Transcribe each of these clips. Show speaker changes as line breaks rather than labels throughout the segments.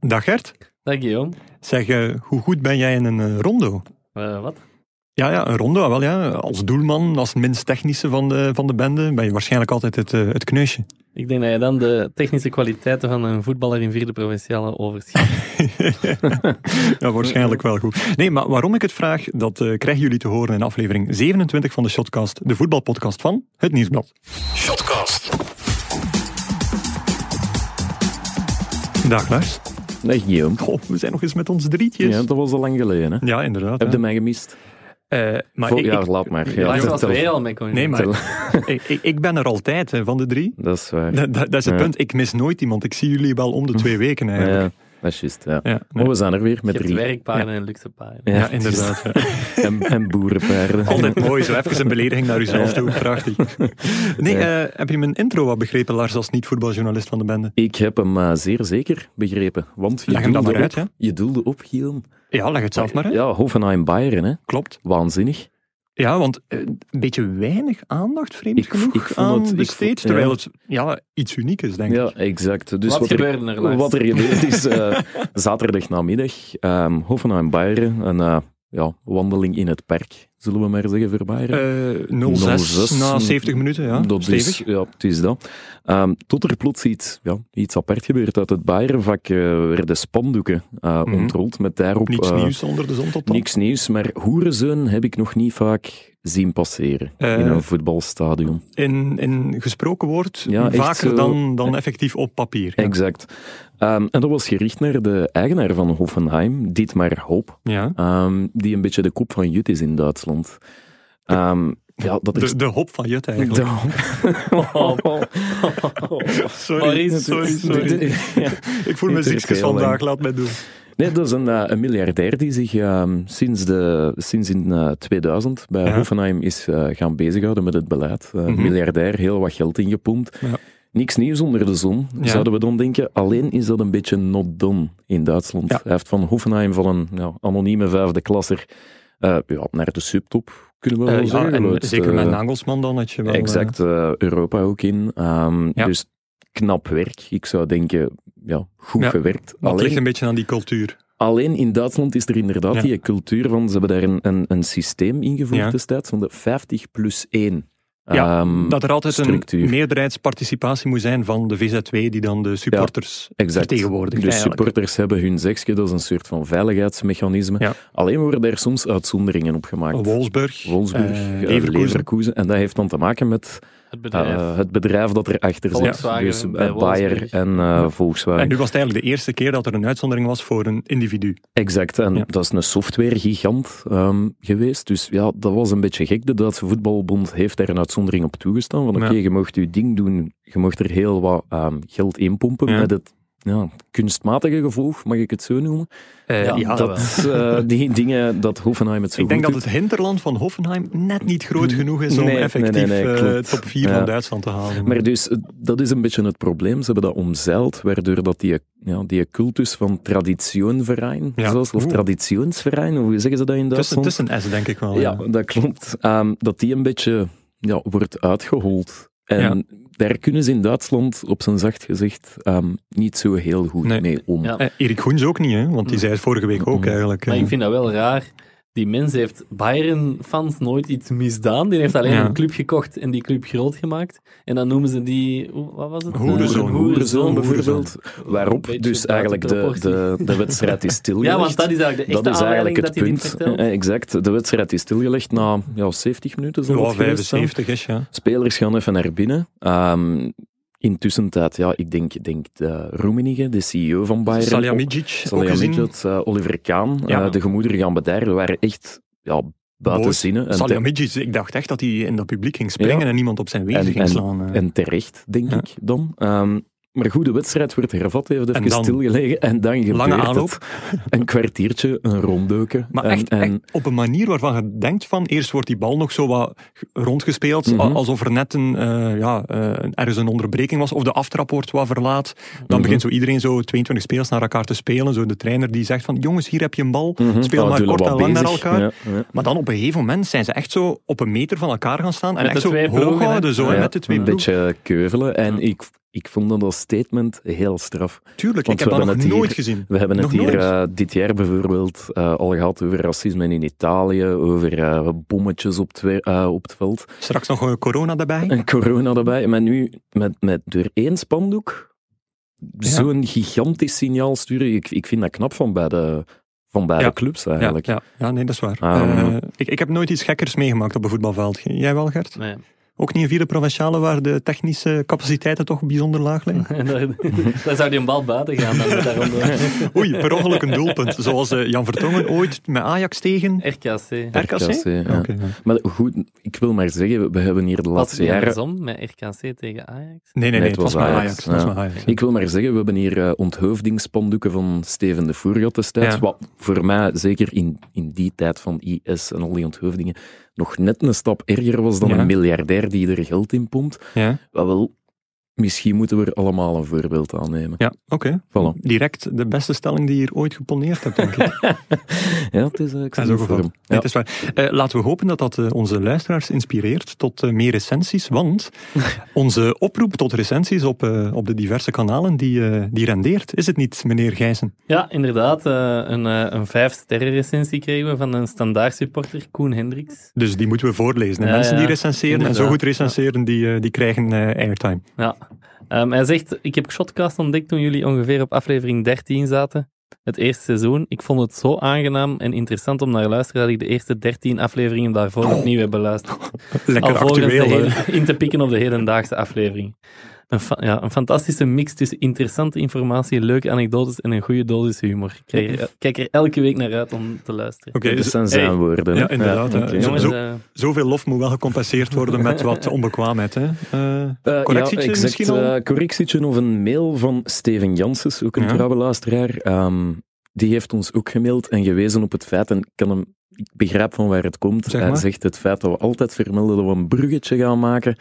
Dag Gert.
Dag Guillaume.
Zeg, eh, hoe goed ben jij in een eh, rondo?
Eh, wat?
Ja, ja, een rondo, ah, wel ja. Als doelman, als minst technische van de, van de bende, ben je waarschijnlijk altijd het, eh, het kneusje.
Ik denk dat je dan de technische kwaliteiten van een voetballer in vierde provinciale overschat.
ja, waarschijnlijk wel goed. Nee, maar waarom ik het vraag, dat eh, krijgen jullie te horen in aflevering 27 van de Shotcast, de voetbalpodcast van het Nieuwsblad.
Shotcast.
Dag Lars.
Nee, Guillaume.
Goh, we zijn nog eens met ons drietjes.
Ja,
Ja,
dat was al lang geleden. Hè?
inderdaad.
Heb
ja.
je mij gemist?
Eh, maar ik,
Vorig jaar,
ik-
laat maar. Ja,
Lars was
vertel.
weer al mee kon
nee, maar ik, ik- ik ben er altijd hè, van de drie.
Dat is waar.
Dat, dat- dat is het
Ja.
punt. Ik mis nooit iemand. Ik zie jullie wel om de twee weken
Ja,
eigenlijk.
dat is juist. Ja.
Ja,
Maar we zijn er weer
Je
met
hebt
drie.
werkpaarden en luxe paarden.
Ja,
Ja, inderdaad. ja.
juist. En, en boerenpaarden.
Altijd mooi, zo even een belediging naar uzelf toe. Prachtig. Nee, eh, heb je mijn intro wat begrepen, Lars, als niet-voetbaljournalist van de bende?
Ik heb hem eh, zeer zeker begrepen. Want je
Leg hem dan
doelde
maar uit,
op, Je doelde op, Guillaume.
Ja, leg het zelf maar uit.
Oh, Ja, Hoffenheim-Bayern, hè.
Klopt.
Waanzinnig.
Ja, want eh, een beetje weinig aandacht, vreemd
Ik-
genoeg,
ik vond
aan
het- ik
besteed.
vond- ja.
terwijl het ja, iets uniek is, denk ik.
Ja, exact. Dus
wat,
wat, er,
gebeurde er, Lars?
wat er gebeurd is, eh zaterdag namiddag, ehm, Hoffenheim-Bayern, een eh, ja, wandeling in het park, zullen we maar zeggen, voor Bayern.
Eh, 06,
06,
na 70 minuten, ja.
dat
Stevig.
is, ja, het is dat. Ehm, tot er plots iets, ja, iets apart gebeurt. Uit het Bayernvak eh, werden spandoeken eh,
Mhm.
ontrold met daarop...
Niks
eh,
nieuws onder de zon tot dan.
Niks nieuws, maar hoerenzeun heb ik nog niet vaak zien passeren
Eh,
in een voetbalstadion.
In, in gesproken woord,
Ja, echt eh,
vaker
zo-
dan, dan effectief op papier. Ja.
Exact. Ehm, en dat was gericht naar de eigenaar van Hoffenheim, Dietmar Hoop,
Ja.
ehm, die een beetje de kop van Jut is in Duitsland. Ehm, ja, dat is...
De, Dus- de hop van Jut eigenlijk.
Oh,
Sorry,
Maurice,
sorry, sorry.
Ja.
Ik voel me
Het is
ziekjes
heel
vandaag,
eng.
laat mij doen.
Nee, dat is een, eh, een miljardair die zich ehm, sinds, de, sinds in eh, 2000 bij
Ja.
Hoffenheim is eh, gaan bezighouden met het beleid. Eh,
Mhm.
Miljardair, heel wat geld ingepompt.
Ja.
Niks nieuws onder de zon,
Ja.
zouden we dan denken. Alleen is dat een beetje not done in Duitsland.
Ja.
Hij heeft van Hoffenheim, van een nou, anonieme vijfde klasser, eh, ja, naar de subtop, kunnen we wel
Eh, ja,
zeggen.
en
Het,
zeker
eh,
met Nagelsman dan, dat je wel... eh,
Exact, eh, Europa ook in. Ehm,
Ja.
Dus knap werk. Ik zou denken, ja, goed
Ja,
gewerkt.
maar het ligt een beetje aan die cultuur.
Alleen in Duitsland is er inderdaad
Ja.
die cultuur van, ze hebben daar een, een, een systeem ingevoerd
Ja.
destijds, van de 50 plus 1.
Ja, dat er altijd een
ehm, structuur.
meerderheidsparticipatie moet zijn van de VZW, die dan de supporters
exact.
vertegenwoordigt
Dus
eigenlijk.
supporters hebben hun zegje, dat is een soort van veiligheidsmechanisme.
Ja.
Alleen worden daar soms uitzonderingen op gemaakt.
eh, Wolfsburg,
Wolfsburg,
eh,
eh,
Leverkusen.
Leverkusen. En dat heeft dan te maken met
Het bedrijf.
eh, het bedrijf dat erachter zit.
Volkswagen
dus eh,
bij
Bayer
Wolfsburg.
en eh, Volkswagen.
En nu was het eigenlijk de eerste keer dat er een uitzondering was voor een individu.
Exact, en
Ja.
dat is een softwaregigant ehm, geweest. Dus ja, dat was een beetje gek. De Duitse Voetbalbond heeft daar een uitzondering op toegestaan. Van oké,
Ja.
je mocht je ding doen, je mocht er heel wat ehm, geld in pompen.
Ja.
Met het ja, kunstmatige gevolg, mag ik het zo noemen.
Eh, ja,
ja,
dat wel.
Dat, eh, die dingen dat Hoffenheim het zo
Ik denk
goed
dat het hinterland van Hoffenheim net niet groot genoeg is om
Nee, nee,
effectief
nee, nee,
eh,
klopt.
top 4
Ja.
van Duitsland te halen.
Maar dus, eh, dat is een beetje het probleem. Ze hebben dat omzeild, waardoor dat die, ja, die cultus van traditionverein,
Ja.
zoals, of
Oeh.
traditionsverein, hoe zeggen ze dat in
tussen,
Duitsland?
tussen S, denk ik wel.
Ja, dat klopt. Ehm, dat die een beetje ja, wordt uitgehold. En
Ja.
daar kunnen ze in Duitsland, op zijn zacht gezegd, ehm, niet zo heel goed
Nee.
mee om.
Ja.
Eh, Erik Goens ook niet, hè? want die zei het vorige week ook
Mm.
eigenlijk.
Maar
eh.
ik vind dat wel raar. Die mens heeft Bayern-fans nooit iets misdaan. Die heeft alleen
Ja.
een club gekocht en die club groot gemaakt. En dan noemen ze die... hoe- Wat was het?
Hoerenzoon.
Eh,
Hoerenzoon
hoerenzoon.
bijvoorbeeld, waarop
Beetje
dus eigenlijk de,
buiten
de, de wedstrijd is stilgelegd.
Ja, want dat is eigenlijk de echte
Dat is
aanleiding
eigenlijk het
dat hij dit
punt.
vertelt.
Eh, Exact. De wedstrijd is stilgelegd na ja, 70 minuten. zal
Ja,
het geweest zijn.
75 is, ja.
Spelers gaan even naar binnen. Ehm intussen tijd, ja, ik denk, denk de Roemenige, de CEO van Bayern.
Salihamidzic, Dus ook gezien.
Salihamidzic, eh Oliver Kaan,
Ja.
eh, de gemoederen gaan bedaren, waren echt ja, buiten
Boos.
zinnen. En, te-
Salihamidzic, ik dacht echt dat hij in dat publiek ging springen
Ja.
en niemand op zijn wezen
En-
ging slaan. eh.
en terecht, denk
Ja.
ik dan. Ehm, maar goed, de wedstrijd wordt hervat, heeft even
dan?
stilgelegen en dan gebeurt
Lange
het.
aanloop.
Een kwartiertje, een ronddeuken.
Maar
en,
echt,
en-
echt op een manier waarvan je denkt van, eerst wordt die bal nog zo wat g- rondgespeeld, a-
Mhm.
alsof er net een, eh, ja, eh, ergens een onderbreking was, of de aftrap wordt wat verlaat. Dan
Mhm.
begint zo iedereen zo 22 spelers naar elkaar te spelen. Zo de trainer die zegt van, jongens, hier heb je een bal,
Mhm.
speel
Ah,
maar
doe
kort
wat
en lang naar
bezig.
elkaar.
Ja, ja.
Maar dan op een gegeven moment zijn ze echt zo op een meter van elkaar gaan staan en
Met
echt
de
zo
twee ploegen,
hoog
hè?
houden, zo, hè,
Ja,
met de twee
Een
ploegen.
beetje keuvelen. En ik, Ik vond dat als statement heel straf.
Tuurlijk,
Want
ik
we
heb dat nog
hebben het
nooit
hier-
gezien.
We hebben het
Nog
hier
nooit.
eh, dit jaar bijvoorbeeld eh, al gehad over racisme in Italië, over eh, bommetjes op het, wer- eh, op het veld
Straks nog eh, corona daarbij.
en corona erbij. Maar nu met, met door één spandoek zo'n gigantisch signaal sturen. Ik, ik vind dat knap van beide, van beide
Ja.
clubs
Ja,
eigenlijk.
ja, ja, nee, dat is waar.
Ah.
Eh, ik, ik heb nooit iets gekkers meegemaakt op een voetbalveld. Jij wel, Gert?
Nee.
Ook niet in vierde provinciale, waar de technische capaciteiten toch bijzonder laag liggen?
daar, daar zou die een bal buiten gaan. Dan met daaronder.
Oei, per ongeluk een doelpunt. Zoals eh, Jan Vertongen ooit met Ajax tegen
RKC.
RKC.
RKC, ja.
Oké, ja.
Maar goed, ik wil maar zeggen, we hebben hier de
Was het
laatste
niet
jaren
andersom met RKC tegen Ajax?
Nee, nee, nee, het was maar Ajax. Het was
ja.
maar Ajax.
Ik wil maar zeggen, we hebben hier eh onthoofdingsspandoeken van Steven de Voer gehad destijds.
Ja.
Wat voor mij, zeker in, in die tijd van IS en al die onthoofdingen, nog net een stap erger was dan
Ja.
een miljardair die er geld in pompt.
Ja,
Wel, wel, misschien moeten we er allemaal een voorbeeld aan nemen.
ja oké.
Voilà.
Direct de beste stelling die je hier ooit geponeerd hebt, denk ik.
Ja, het is, eh, ik
Dat
zie
is
het
ook wel.
voor hem.
Nee,
Ja.
het is waar. Eh, laten we hopen dat dat eh, onze luisteraars inspireert tot eh, meer recensies. Want onze oproep tot recensies op, eh, op de diverse kanalen, die, eh, die rendeert. Is het niet, meneer Gijzen?
Ja, inderdaad. eh, een, eh, een vijf-sterren recensie kregen we van een standaard supporter, Koen Hendricks.
Dus die moeten we voorlezen. En
Ja,
mensen die
ja.
recenseren en zo
Inderdaad.
goed recenseren, die, eh, die krijgen eh, airtime.
Ja. Ehm, hij zegt, ik heb Shotcast ontdekt toen jullie ongeveer op aflevering 13 zaten. Het eerste seizoen. Ik vond het zo aangenaam en interessant om naar te luisteren dat ik de eerste 13 afleveringen daarvoor opnieuw heb beluisterd.
Lekker
Alvorens de
actueel. hè.
hele- in te pikken op de hedendaagse aflevering. Een, fa- ja, een fantastische mix tussen interessante informatie, leuke anekdotes en een goede dosis humor. Ik kijk er, kijk er elke week naar uit om te luisteren.
Oké,
Dit
dus-
zijn zijn
Hey.
woorden. hè.
Ja, inderdaad, hè.
oké.
Ja,
Jongens,
zo-
eh,
Zoveel lof moet wel gecompenseerd worden met wat onbekwaamheid. Hè? Eh,
Eh,
Correctietje
ja, exact,
misschien al?
eh, correctietje of een mail van Steven Janssens, ook een
Ja.
trouwe luisteraar. Ehm, die heeft ons ook gemaild en gewezen op het feit, en ik, kan hem, ik begrijp van waar het komt.
Zeg
Hij
maar.
zegt het feit dat we altijd vermelden dat we een bruggetje gaan maken,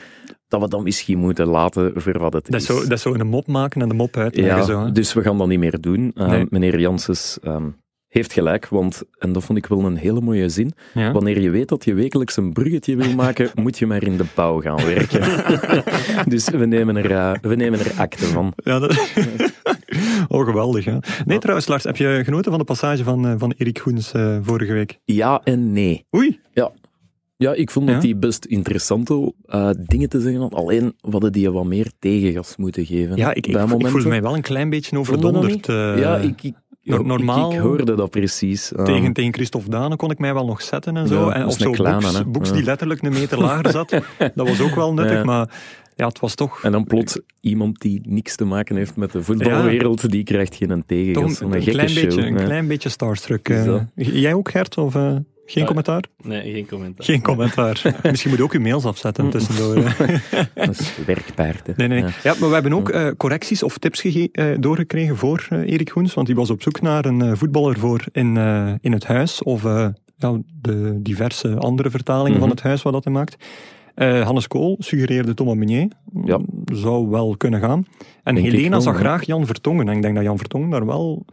dat we dat misschien moeten laten voor wat het
dat, is zo, dat is zo een mop maken en de mop uitleggen.
ja,
zo, hè.
dus we gaan dat niet meer doen. Ehm,
Nee.
Meneer Janssens ehm, heeft gelijk, want, en dat vond ik wel een hele mooie zin,
Ja.
wanneer je weet dat je wekelijks een bruggetje wil maken, moet je maar in de bouw gaan werken. dus we nemen er, eh, we nemen er akte van.
Ja, dat... Oh, geweldig. Hè? Nee, trouwens, Lars, heb je genoten van de passage van, eh, van Erik Goens eh, vorige week?
Ja en nee.
Oei.
Ja, ik vond
Ja?
dat die best interessante eh, dingen te zeggen had. Alleen we hadden die wat meer tegengas moeten geven.
Ja, ik, ik,
Bij
ik
momenten-
voelde mij wel een klein beetje
je dat
overdonderd. eh,
ja, ik, ik,
no-
ik-
normaal-
ik, hoorde dat precies. Eh,
Tegen, tegen Christophe Dane kon ik mij wel nog zetten en zo.
Ja,
en
dat
of
is
zo
een kleine,
Boeks,
hè.
Boeks
Ja.
die letterlijk een meter lager zat. dat was ook wel nuttig,
Ja.
maar ja, het was toch...
En dan plots iemand die niks te maken heeft met de voetbalwereld, die krijgt geen
toch
tegengas.
een,
Een,
een
gekke
klein,
show.
beetje, een
ja.
klein beetje starstruck.
Dus
eh.
dat.
jij ook, Gert? Of, eh, geen
Ja.
commentaar?
nee, geen commentaar.
Geen commentaar. Misschien moet je ook je mails
Mm.
afzetten tussendoor. hè.
Dat is werkpaard. hè.
Nee, nee, nee.
Ja.
Ja. maar we hebben ook eh, correcties of tips gege- eh, doorgekregen voor eh, Erik Goens, want die was op zoek naar een eh, voetballer voor in, eh, in het huis of eh, ja, de diverse andere vertalingen van
Mhm.
het huis wat dat hij maakt. Eh, Hannes Kool suggereerde Thomas Meunier.
Ja.
Zou wel kunnen gaan. En
Denk ik
Helena
wel,
zag
ja.
graag Jan Vertongen. En ik denk dat Jan Vertongen daar wel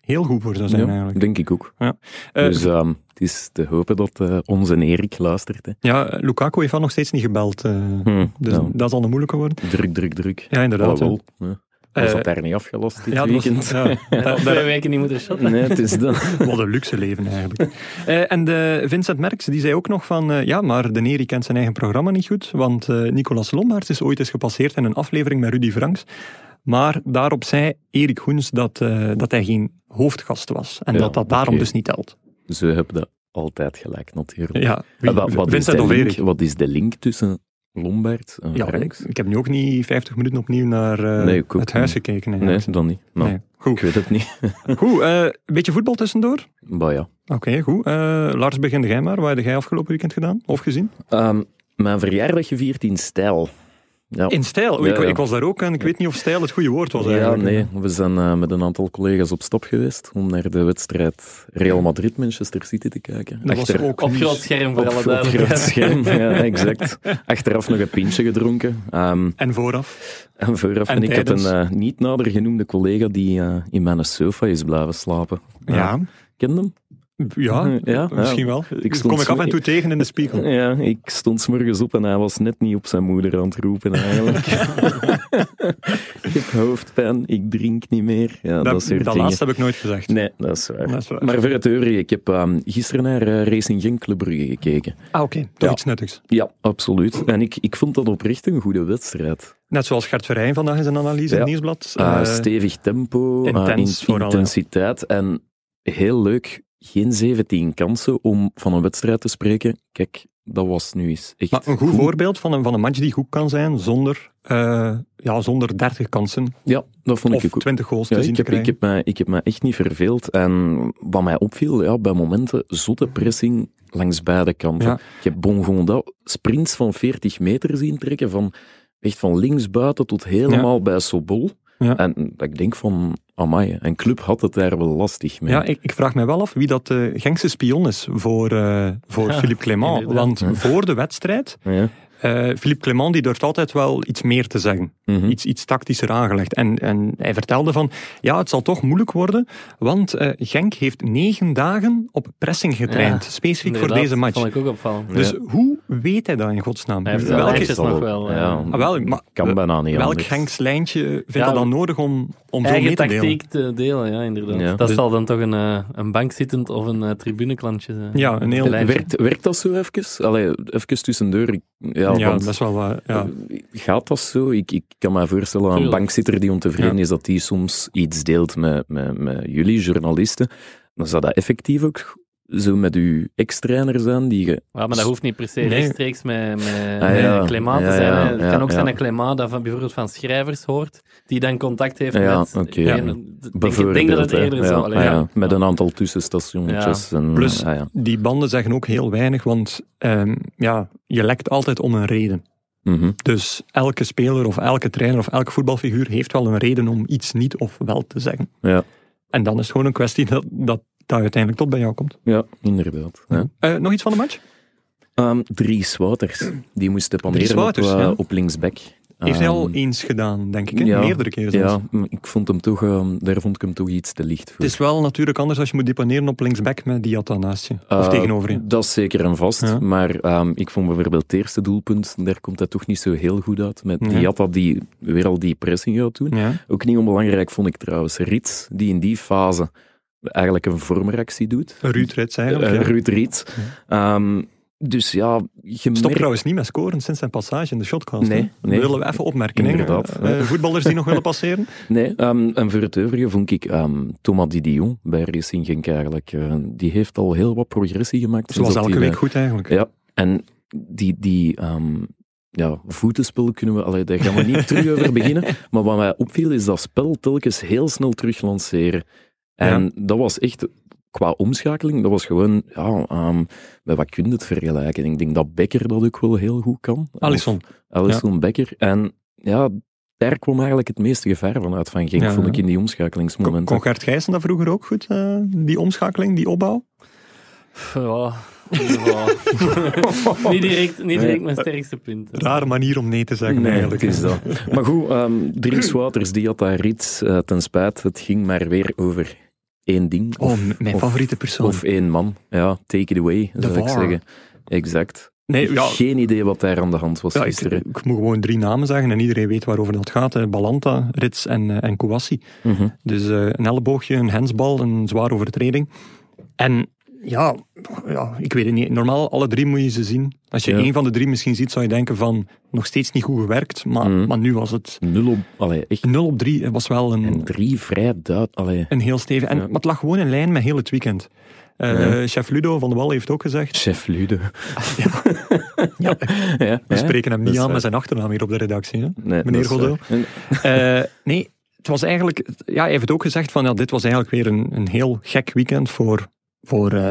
heel goed voor zou zijn
Ja,
eigenlijk.
denk ik ook.
Eh,
dus ehm, het is te hopen dat eh, onze Erik luistert. Hè.
Ja, Lukaku heeft al nog steeds niet gebeld. eh,
Hm,
dus
nou,
dat zal een moeilijke worden.
druk, druk, druk.
Ja, inderdaad.
Alhoewel, ja. was
Eh,
dat daar niet afgelast dit
ja, dat was-
weekend?
ja,
Al
daar- daar-
Twee weken niet moeten shotten.
Nee, het is dat.
Wat een luxe leven eigenlijk. Eh, en de Vincent Merks die zei ook nog van, eh, ja, maar de Neri kent zijn eigen programma niet goed, want eh, Nicolas Lombaerts is ooit eens gepasseerd in een aflevering met Rudy Franks. Maar daarop zei Erik Hoens dat, eh, dat hij geen hoofdgast was en
Ja,
dat dat daarom
oké.
dus niet telt.
Ze hebben dat altijd gelijk, natuurlijk.
Ja, wie-
Eh, wa- wat, is
Vincent
de
of
link,
Erik?
wat is de link tussen Lombard en
Ja, ik,
Franks?
ik heb nu ook niet 50 minuten opnieuw naar eh,
Nee, ik ook
het huis
niet.
gekeken.
Nee,
eigenlijk.
dan niet. Nou,
Nee. Goed,
Ik weet het niet.
goed eh, een beetje voetbal tussendoor.
Maar ja.
Oké, goed. Eh, Lars, begin jij maar. Wat heb jij afgelopen weekend gedaan of gezien?
Ehm, mijn verjaardag gevierd in stijl. Ja,
In stijl.
Oh.
Oh,
Ja,
ik,
ja.
ik was daar ook en ik weet niet of stijl het goede woord was
ja
eigenlijk.
nee. We zijn eh, met een aantal collega's op stap geweest om naar de wedstrijd Real Madrid-Manchester City te kijken.
Dat was ook
Op
nieuws.
groot scherm voor
op,
alle
op groot
duidelijkheid.
scherm, ja, exact. Achteraf nog een pintje gedronken. Ehm,
En vooraf.
en vooraf,
En
en ik had een
tijdens?
eh, niet nader genoemde collega die eh, in mijn sofa is blijven slapen.
Ja.
Ken hem?
Ja,
Ja,
misschien
ja.
wel.
Ik
Dus
stond
kom ik af
zo-
en toe tegen in de spiegel.
Ja, ik stond s'morgens op en hij was net niet op zijn moeder aan het roepen eigenlijk. ik heb hoofdpijn, ik drink niet meer. Ja, dat,
dat
soort
dat
dingen.
laatste heb ik nooit gezegd.
Nee, dat is waar.
Dat is waar.
Maar voor het eurie, ik heb ehm, gisteren naar eh, Racing Genk Brugge gekeken.
Ah, oké. Toch
Ja.
iets nuttigs.
Ja, absoluut. En ik, ik vond dat oprecht een goede wedstrijd.
Net zoals Gert Verheyen vandaag in zijn analyse in
Ja.
het Nieuwsblad.
Eh,
Eh,
stevig tempo, eh,
intens
in-
vooral, ja.
intensiteit en heel leuk. Geen 17 kansen om van een wedstrijd te spreken. Kijk, dat was nu eens echt
maar een goed voorbeeld van een, van een match die goed kan zijn zonder, eh, ja, zonder 30 kansen
Ja, dat vond
of
ik ook
20 goals
Ja,
te zien
ik,
te
heb, ik,
krijgen.
heb mij, ik heb mij echt niet verveeld. En wat mij opviel, ja, bij momenten zotte pressing langs beide kanten.
Ja.
Ik heb Bongonda sprints van 40 meter zien trekken, van, echt van links buiten tot helemaal bij Sobol.
Ja.
En dat ik denk van, amai, een club had het daar wel lastig mee.
Ja, ik, ik vraag me wel af wie dat eh Genkse spion is voor, eh, voor
Ja,
Philippe Clement.
inderdaad.
Want voor de wedstrijd,
Ja.
eh Philippe Clement die durft altijd wel iets meer te zeggen.
Mhm.
iets, iets tactischer aangelegd. En, en hij vertelde van, ja, het zal toch moeilijk worden, want eh, Genk heeft negen dagen op pressing getraind, specifiek voor
Inderdaad,
deze match.
Dat vond ik ook opvallend.
Dus hoe weet hij dat in godsnaam?
Hij heeft wel
Welk,
lijntjes
is-
nog wel, eh.
Ja,
Ah, wel, maar-
kan bijna niet
welk
anders.
Genks lijntje vindt
Ja,
dat dan nodig om, om zo
Eigen
mee te delen?
tactiek te delen, ja, inderdaad.
Ja.
Dat
Dus-
zal dan toch een, eh, een bankzittend of een eh, tribuneklantje zijn.
Ja, een heel-
Lijntje.
Werkt, werkt dat zo even? Allee, even tussendoor. Ik- Ja,
Ja,
want-
dat is wel waar. Ja.
Eh, Gaat dat zo? Ik, ik kan me voorstellen aan een
Tuurlijk.
bankzitter die ontevreden
Ja.
is dat die soms iets deelt met, met, met jullie, journalisten. Dan zou dat effectief ook zo met uw ex-trainer zijn die je...
Ja, maar dat hoeft niet per se
Nee.
rechtstreeks met, met,
Dus Ah,
met
ja.
Clément te
Ja,
zijn.
ja,
hè. het
ja,
kan ook
ja.
zijn dat Clément dat van, bijvoorbeeld van schrijvers hoort, die dan contact heeft
Ja,
met...
oké.
Ik
Ja.
denk, ik
Bijvoorbeeld,
denk dat het
hè.
eerder
ja,
zo...
ah,
allee,
ja,
ja.
Met een aantal tussenstationnetjes. En,
Plus-
ah, ja.
Die banden zeggen ook heel weinig, want ehm, ja, je lekt altijd om een reden.
Mhm.
Dus elke speler of elke trainer of elke voetbalfiguur heeft wel een reden om iets niet of wel te zeggen.
Ja.
En dan is het gewoon een kwestie dat dat, dat uiteindelijk tot bij jou komt.
ja, inderdaad. Ja.
Eh, nog iets van de match?
Ehm, Dries Wouters, die moest
Dries
depaneren op,
Wouters,
eh,
ja.
op linksback.
Heeft hij al
Ehm,
eens gedaan, denk ik. hè?
ja.
Meerdere keren zelfs.
Ja, maar ik vond hem toch, ehm, daar vond ik hem toch iets te licht voor.
Het is wel natuurlijk anders als je moet depaneren op linksback met Diatta naast je. Of
Eh,
tegenover je.
Dat is zeker en vast.
Ja.
Maar ehm, ik vond bijvoorbeeld het eerste doelpunt, daar komt dat toch niet zo heel goed uit. Met
Nee.
Diatta die weer al die pressing gaat doen.
Ja.
Ook niet onbelangrijk vond ik trouwens Rits, die in die fase eigenlijk een vormeractie doet.
Ruud Rits eigenlijk.
Eh,
ja.
Ruud Rits. Ehm, dus ja, je
Stop
merkt-
trouwens niet met scoren sinds zijn passage in de shotcast.
Nee,
hè?
nee.
Dat willen we even opmerken. hè?
Inderdaad,
Eh,
ja.
eh, voetballers die nog willen passeren.
Nee, ehm, en voor het overige vond ik ehm Thomas Didion bij Racing Genk eigenlijk. eh, die heeft al heel wat progressie gemaakt. sinds
Zoals
dat
elke
hij bij-
week goed eigenlijk.
Ja, en die, die ehm, ja, voetenspel kunnen we, allee, daar gaan we niet terug over beginnen. Maar wat mij opviel is dat spel telkens heel snel terug lanceren. En dat was echt, qua omschakeling, dat was gewoon, ja, ehm, met wat kun je het vergelijken? Ik denk dat Becker dat ook wel heel goed kan.
Alisson.
Alison Becker. En ja, daar kwam eigenlijk het meeste gevaar van uit van Genk,
Ja,
vond
ja.
ik in die
Kon
omschakelingsmomenten.
kon Gert Gijssen dat vroeger ook goed? eh, die omschakeling, die opbouw?
Pff, ja. Ja. niet direct, niet direct mijn sterkste punt.
Rare manier om nee te zeggen
Nee,
eigenlijk.
het is dat. Maar goed, ehm Dries Wouters die had daar iets eh, ten spijt. Het ging maar weer over één ding.
Oh,
Of,
m- mijn
of-
favoriete persoon.
of één man. Ja, take it away,
De
zou ik
VAR.
zeggen. Exact.
nee, ja,
Geen idee wat daar aan de hand was
ja, ik,
gisteren.
ik moet gewoon drie namen zeggen en iedereen weet waarover dat gaat. hè. Balanta, Rits en, eh, en Kouassi.
Mhm.
Dus eh, een elleboogje, een hensbal, een zware overtreding. En ja, ja, ik weet het niet. Normaal, alle drie moet je ze zien. Als je
Ja.
één van de drie misschien ziet, zou je denken van, nog steeds niet goed gewerkt. Maar,
Mhm.
maar nu was het
Nul op... Allee, echt.
0 op 3. Het was wel
En
een,
drie vrij duidelijk. Allee,
een heel stevig... En,
Ja.
Maar het lag gewoon in lijn met heel het weekend. Eh, Chef Ludo van de Wal heeft ook gezegd,
chef Lude.
Ja.
ja,
we spreken hem
dat
niet
is
aan
waar.
met zijn achternaam hier op de redactie. Hè?
Nee,
meneer
dat is
Godot.
waar. En-
Eh, nee, het was eigenlijk. Ja, hij heeft het ook gezegd van. Ja, dit was eigenlijk weer een, een heel gek weekend voor. Voor eh,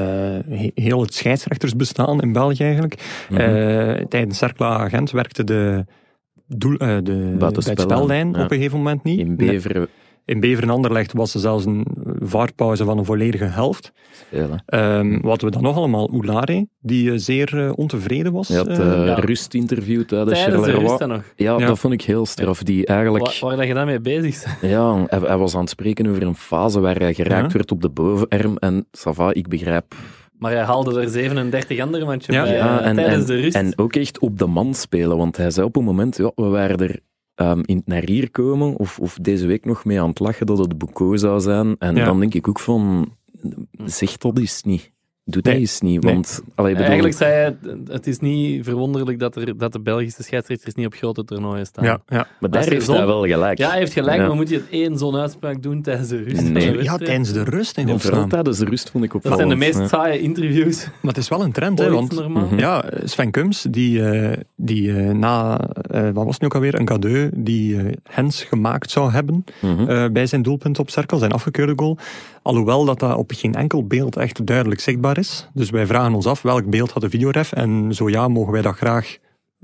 he- heel het scheidsrechtersbestaan in België eigenlijk.
Mhm.
Eh, tijdens Cercla Agent werkte de, doel, eh, de, bij het
Buitenspellijn,
spellijn
ja.
op een gegeven moment niet.
in
Nee,
Beveren
in Beveren Anderlecht was er zelfs een, vaarpauze van een volledige helft.
Veel, hè.
Ehm wat we dan nog allemaal, Oulare, die eh, zeer eh, ontevreden was.
Je had
eh,
eh,
ja.
rustinterview tijdens
Tijdens de rust
Charleroi.
dan nog.
Ja,
Ja.
dat vond ik heel straf. Die eigenlijk...
Waar, waar dat je daarmee bezig bent.
Ja, hij, hij was aan het spreken over een fase waar hij geraakt
Ja.
werd op de bovenarm. En Sava, ik begrijp.
Maar hij haalde er 37 andere mannetje
Ja.
bij eh,
Ja, en,
tijdens
en,
de rust. Eh,
en ook echt op de man spelen. Want hij zei op een moment, ja, we waren er ehm, in het naar hier komen, of, of deze week nog mee aan het lachen dat het Boucault zou zijn. En
Ja.
dan denk ik ook van, zeg dat eens niet. Doe dat
Nee.
eens niet.
Nee.
Want, allee, bedoel,
Eigenlijk zei hij, het is niet verwonderlijk dat, er, dat de Belgische scheidsrechters niet op grote toernooien staan.
ja, ja.
maar daar
als je
heeft
zon-
hij wel gelijk.
Ja, hij heeft gelijk,
Ja.
maar moet je het één zo'n uitspraak doen tijdens de rust?
Nee.
van een
ja,
wedstrijd?
tijdens de rust in
En vooral
godsnaam.
tijdens de rust vond ik
Dat zijn
opvallend.
de meest
Ja.
saaie interviews
Maar het is wel een trend, hè,
ooit
want
normaal.
Mhm.
Ja, Sven Kums, die, eh, die eh, na, eh, wat was het nu ook alweer, een cadeau die eh, Hens gemaakt zou hebben
Mhm.
eh, bij zijn doelpunt op cirkel, zijn afgekeurde goal. Alhoewel dat dat op geen enkel beeld echt duidelijk zichtbaar is. Dus wij vragen ons af, welk beeld had de videoref? En zo ja, mogen wij dat graag eh,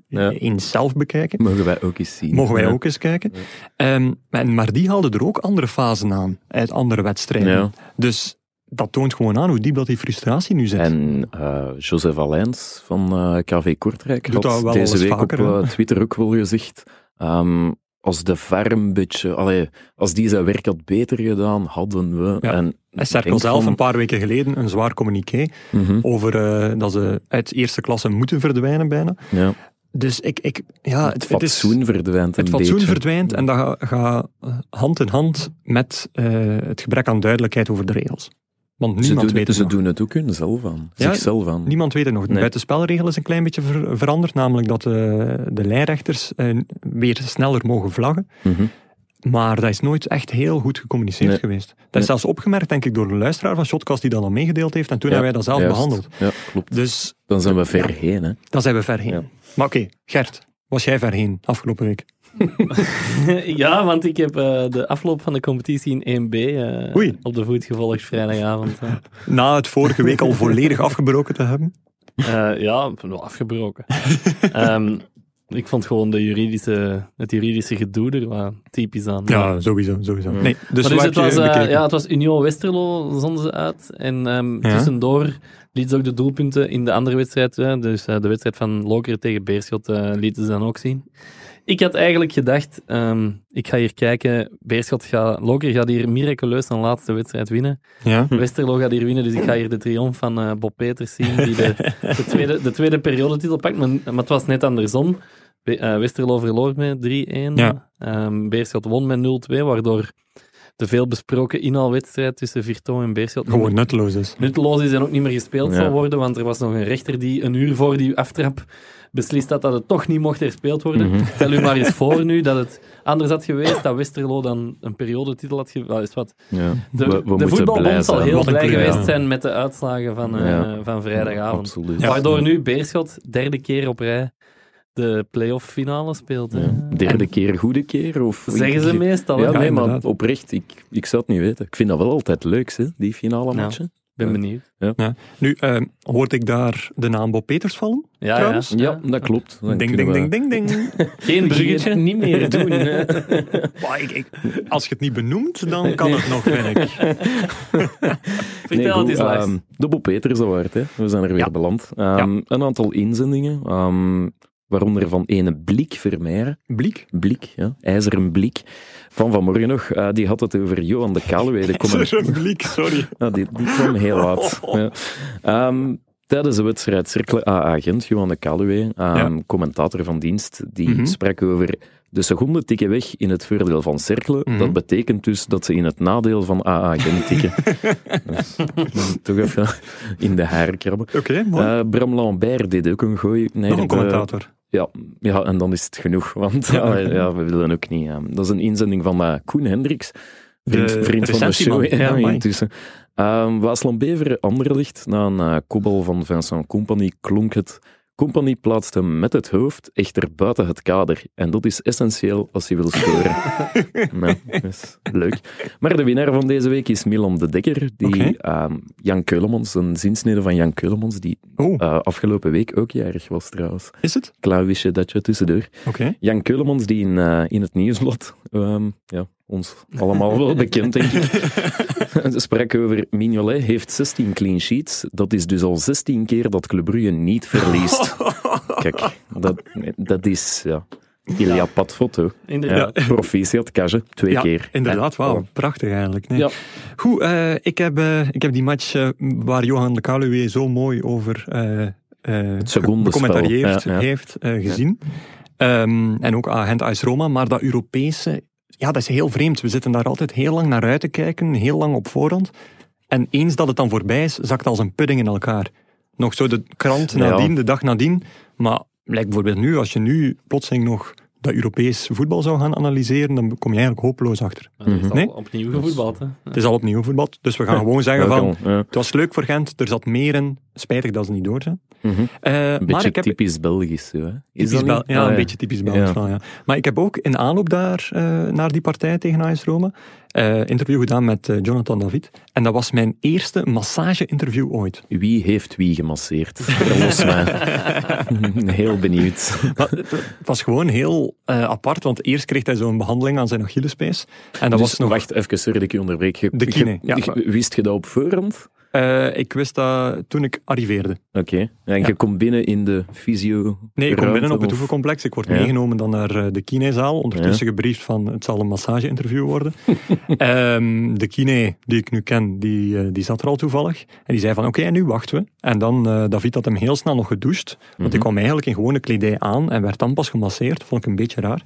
Ja.
eens zelf bekijken.
Mogen wij ook eens zien.
Mogen wij
Ja.
ook eens kijken. Ehm, en- maar die haalden er ook andere fasen aan uit andere wedstrijden.
Ja.
Dus dat toont gewoon aan hoe diep dat die frustratie nu zit.
En eh Joseph Allijns van eh, KV Kortrijk
Doet dat
had
wel
deze
alles
week
vaker,
op
hè?
eh, Twitter ook wel gezegd. ehm, als de VAR een beetje... Allee, als die zijn werk had beter gedaan, hadden we...
Ja.
En
En
ik
Cerkel
denk
zelf
van-
een paar weken geleden een zwaar communiqué
Mhm,
over eh, dat ze uit eerste klasse moeten verdwijnen bijna.
ja.
Dus ik, ik ja,
Het
het, het is,
fatsoen verdwijnt een
het fatsoen
beetje.
verdwijnt en dat ga- gaat hand in hand met eh, het gebrek aan duidelijkheid over de regels. Want
ze
niemand weet
doen, het,
het
dus ze
nog.
doen het ook hunzelf aan.
Ja,
zichzelf aan.
Niemand weet het nog. De
Nee.
buitenspelregel is een klein beetje ver- veranderd, namelijk dat de, de lijnrechters eh, weer sneller mogen vlaggen.
Mhm.
Maar dat is nooit echt heel goed gecommuniceerd
Nee.
geweest. Dat
Nee.
is zelfs opgemerkt, denk ik, door een luisteraar van Shotcast die dat al meegedeeld heeft en toen
Ja,
hebben wij dat zelf
Juist.
behandeld.
Ja, klopt.
Dus
Dan zijn we ver heen, hè.
Dan zijn we ver heen.
Ja.
Maar oké, Gert, was jij ver heen afgelopen week?
ja, want ik heb eh, de afloop van de competitie in 1B eh,
Oei.
op de voet gevolgd vrijdagavond. hè.
Na het vorige week al volledig afgebroken te hebben.
Eh, ja, wel afgebroken. Ehm, ik vond gewoon de juridische, het juridische gedoe er wat typisch aan. Maar-
Ja, sowieso, sowieso. Nee, dus
maar
waar heb
dus het, was,
je
eh,
bekeken?
ja, het was Union Westerlo, zonden ze uit. En ehm,
Ja.
tussendoor lieten ze ook de doelpunten in de andere wedstrijd. hè. dus eh, de wedstrijd van Lokeren tegen Beerschot eh, lieten ze dan ook zien. Ik had eigenlijk gedacht, ehm, ik ga hier kijken. Beerschot gaat, Lokeren gaat hier miraculeus zijn laatste wedstrijd winnen.
ja.
Hm.
Westerlo gaat hier winnen, dus ik ga hier de triomf van eh, Bob Peters zien, die de, de tweede, de tweede periodetitel pakt. Maar, maar het was net andersom. We- eh, Westerlo verloor met 3-1.
Ja.
Ehm, Beerschot won met 0-2, waardoor de veelbesproken inhaalwedstrijd tussen Virton en Beerschot niet
Gewoon nutteloos dus. is.
nutteloos is en ook niet meer gespeeld
Ja.
zal worden, want er was nog een rechter die een uur voor die aftrap beslist had dat het toch niet mocht herspeeld worden. Stel u maar eens voor nu dat het anders had geweest, dat Westerlo dan een periodetitel had ge- wel, is wat
Ja.
de,
we, we
de
moeten blij
voetbalbond zal
zijn.
heel
Wat een
blij
kleur,
geweest
ja.
zijn met de uitslagen van, eh,
Ja.
van vrijdagavond.
Absoluut.
Waardoor nu Beerschot derde keer op rij de play-off finale speelt. hè.
Ja. Derde keer, goede keer? Of
Zeggen ze meestal. hè?
Ja,
Ik
nee, maar
inderdaad.
oprecht, ik, ik zou het niet weten. Ik vind dat wel altijd leuk, hè, die finale matchen.
ben benieuwd.
Ja. Nu, eh, hoorde ik daar de naam Bob Peters vallen?
Ja,
Trouwens,
ja.
Ja, dat klopt. Dan
Ding,
kunnen
ding,
we-
ding, ding, ding.
Geen bruggetje.
Niet meer doen.
Maar ik, ik, als je het niet benoemt, dan kan het nog, vind ik.
Vertel het eens, Lars.
ehm, de Bob Peters Award, hè. we zijn er weer
Ja.
beland. Ehm, Een aantal inzendingen, ehm, waaronder van ene Blik Vermeer.
Bliek?
Blik, ja, ijzeren blik. Van vanmorgen nog, eh, die had het over Johan de Kaluwe, de
Is
commentator.
er een bliek, sorry.
Ja, die, die kwam heel laat. Ja. Ehm, tijdens de wedstrijd Cirkel A-agent, Johan de Kaluwe, ehm,
Ja.
commentator van dienst, die
Mhm.
sprak over de seconden tikken weg in het voordeel van Cercle.
Mhm.
Dat betekent dus dat ze in het nadeel van A-agent tikken. dus, toch even in de haren krabben.
Oké, mooi.
Eh, Bram Lambert deed ook een gooi. naar
nog een
de-
commentator.
ja, ja, en dan is het genoeg, want ja, ja, we willen ook niet. ehm, dat is een inzending van eh, Koen Hendricks, vriend,
De
vriend van de show
recensieman.
ja,
Ja, amai.
intussen. Ehm Waasland Beveren, Anderlicht, na een eh, kopbal van Vincent Company klonk het. Company plaatste hem met het hoofd echter buiten het kader. En dat is essentieel als je wil scoren. nou, dat is leuk. Maar de winnaar van deze week is Milan de Dekker. Die
Oké.
ehm, Jan Keulemans, een zinsnede van Jan Keulemans, die
Oh,
eh, afgelopen week ook jarig was trouwens.
is het?
Klaar wist je eh, dat je tussendoor.
Oké.
Jan Keulemans, die in, eh, in het nieuwsblad, ehm, ja, ons allemaal wel bekend, denk ik, Ze sprak over Mignolet heeft 16 clean sheets. Dat is dus al 16 keer dat Club Brugge niet verliest. Kijk, dat, dat is... Ja. Ilia Patfoto. Ja.
Inderdaad.
Proficiat, Kaje, twee
Ja,
keer.
inderdaad.
En-
Wauw, prachtig eigenlijk. Nee.
Ja.
Goed, eh, ik, heb, eh, ik heb die match eh, waar Johan de Kaluwe zo mooi over eh eh,
secondenspel.
becommentarieerd
Ja, ja.
heeft eh, gezien. Ehm, en ook Agent AS Roma, maar dat Europese, ja, dat is heel vreemd. We zitten daar altijd heel lang naar uit te kijken, heel lang op voorhand. En eens dat het dan voorbij is, zakt als een pudding in elkaar. Nog zo de krant
Ja.
nadien, de dag nadien. Maar lijkt bijvoorbeeld nu, als je nu plotseling nog dat Europees voetbal zou gaan analyseren, dan kom je eigenlijk hopeloos achter.
Maar er is
Mhm.
al
Nee?
Dus-
opnieuw gevoetbald. Hè.
Het is al opnieuw voetbal, dus we gaan gewoon zeggen
Ja,
van...
kan, ja.
Het was leuk voor Gent, er zat meer in. Spijtig dat ze niet door zijn.
Mhm.
Eh,
Een
maar
beetje
ik heb
typisch Belgisch. Zo, hè? Is
Typisch
dat
Bel-
niet?
ja,
Ah,
een beetje typisch Belgisch
Ja.
wel, ja. Maar ik heb ook in aanloop daar, eh, naar die partij tegen AS Roma eh, interview gedaan met eh, Jonathan David. En dat was mijn eerste massage-interview ooit.
Wie heeft wie gemasseerd? Los mij. Heel benieuwd.
Maar het het was gewoon heel eh, apart, want eerst kreeg hij zo'n behandeling aan zijn Achillespees. En dat
Dus,
was nog...
Wacht, even, sorry dat ik je onderbreek. Je-
De kine,
je-
ja.
je- Wist je dat op voorhand?
eh, ik wist dat toen ik arriveerde.
Oké. En je komt binnen in de fysio
Nee, ik kom
ruimte,
binnen op het
of-
oefencomplex. Ik word
Ja.
meegenomen dan naar eh, de kinezaal. Ondertussen gebriefd van het zal een massageinterview worden. Ehm, de kine die ik nu ken, die, eh, die zat er al toevallig. En die zei van oké, en nu wachten we. En dan, eh, David had hem heel snel nog gedoucht. Want ik
Mhm.
kwam eigenlijk in gewone kledij aan en werd dan pas gemasseerd. Vond ik een beetje raar.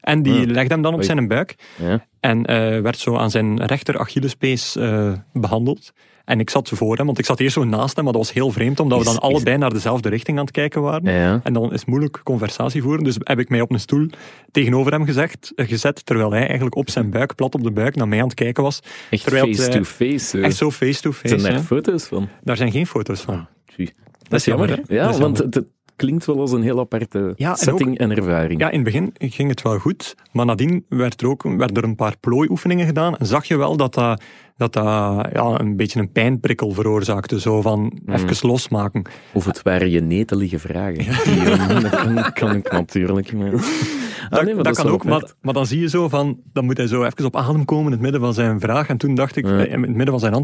En die
Ja.
legde hem dan op
Oei.
zijn buik.
Ja.
En eh, werd zo aan zijn rechter Achillespees eh, behandeld. En ik zat voor hem, want ik zat eerst zo naast hem, maar dat was heel vreemd, omdat we
Is-
dan
is-
allebei naar dezelfde richting aan het kijken waren.
Ja.
En dan is het moeilijk conversatie voeren. Dus heb ik mij op een stoel tegenover hem gezegd, eh, gezet, terwijl hij eigenlijk op zijn buik, plat op de buik, naar mij aan het kijken was.
Echt
Terwijl het, eh,
face-to-face.
Echt zo face-to-face.
Zijn
hè.
daar foto's van?
Daar zijn geen foto's van.
Tjie.
Dat is jammer. hè.
Ja,
Dat is
want
jammer.
het, het klinkt wel als een heel aparte
Ja, en
setting en ervaring.
Ja, in het begin ging het wel goed, maar nadien werd er ook werd er een paar plooioefeningen gedaan. En zag je wel dat dat, dat, dat ja, een beetje een pijnprikkel veroorzaakte. Zo van, even losmaken.
Of het waren je netelige vragen. Die, eh, dat kan, kan ik natuurlijk. Maar... Ah,
Dat,
nee, maar
dat,
is
kan
wel
ook, maar,
apart.
maar dan zie je zo van, dan moet hij zo even op adem komen in het midden van zijn vraag. En toen dacht ik, eh, in het midden van zijn antwoord,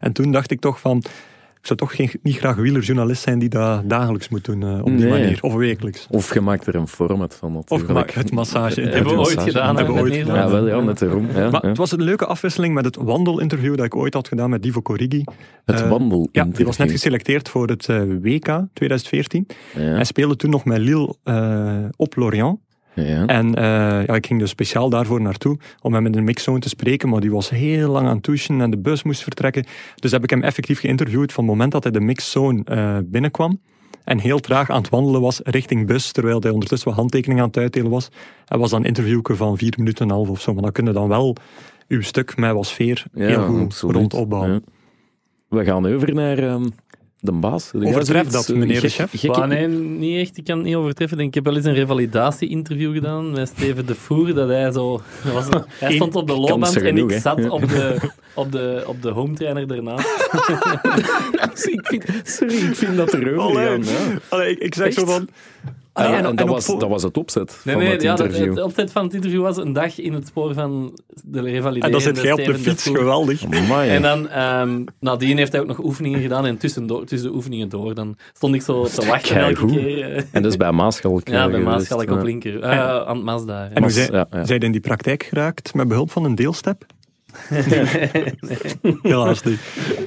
en toen dacht ik toch van, ik zou toch geen, niet graag wielerjournalist zijn die dat dagelijks moet doen, eh, op die
Nee.
manier, of wekelijks.
Of je maakt er een format van
Of
natuurlijk.
gemaakt het massage.
Ja,
Hebben we
het
ooit
was-
gedaan.
hebben we
hè,
ooit
met
gedaan.
Ja,
Nederland.
wel, ja, net daarom. Ja,
Maar
ja.
het was een leuke afwisseling met het wandelinterview dat ik ooit had gedaan met Divo Corrigi.
Het
eh,
wandel.
Ja, die was net geselecteerd voor het eh, WK 2014.
Ja,
Hij speelde toen nog met Lille eh, op Lorient.
ja.
En eh, ja, ik ging dus speciaal daarvoor naartoe om hem in de mixzone te spreken, maar die was heel lang aan het douchen en de bus moest vertrekken. Dus heb ik hem effectief geïnterviewd van het moment dat hij de mixzone eh, binnenkwam en heel traag aan het wandelen was richting bus, terwijl hij ondertussen wat handtekeningen aan het uitdelen was. Hij was dan een interviewke van vier minuten en een half of zo, maar dan kun je dan wel uw stuk met wat sfeer
Ja,
heel goed
absoluut.
rond opbouwen.
Ja. We gaan over naar ehm, de baas. De
Overtreft
Gazovic.
dat, meneer de
Gek-
chef?
gekke-
Maar nee, niet echt. Ik kan het niet overtreffen. Ik denk, Ik heb wel eens een revalidatie-interview gedaan met Steven de Voer. Dat hij zo... dat was een- hij stond op de loopband en
genoeg, hè?
ik zat op de, op de, op de home trainer daarnaast.
ik vind, sorry, ik vind dat erover
Allee,
gaan. Ja.
allee, ik, ik zeg zo
Echt?
van... eh,
Ja,
Allee,
en, dat,
op
was,
vo-
dat was het opzet
Nee,
van
nee,
het
ja, dat,
interview.
het opzet van het interview was een dag in het spoor van de revalidatie.
en Ah, dan zit jij op de fiets, geweldig.
Amai.
eh,
En dan, ehm, nadien heeft hij ook nog oefeningen gedaan. En tussendoor, tussen de oefeningen door, dan stond ik zo te wachten elke
Keigoed.
keer. eh.
En dat is bij Maasschalk.
Ja,
eh,
bij Maas
geweest,
ga ik
ja.
op linker. eh, aan het Maas daar.
En hoe
Mas-
zij,
ja, ja.
zij in die praktijk geraakt met behulp van een deelstep? Helaas niet.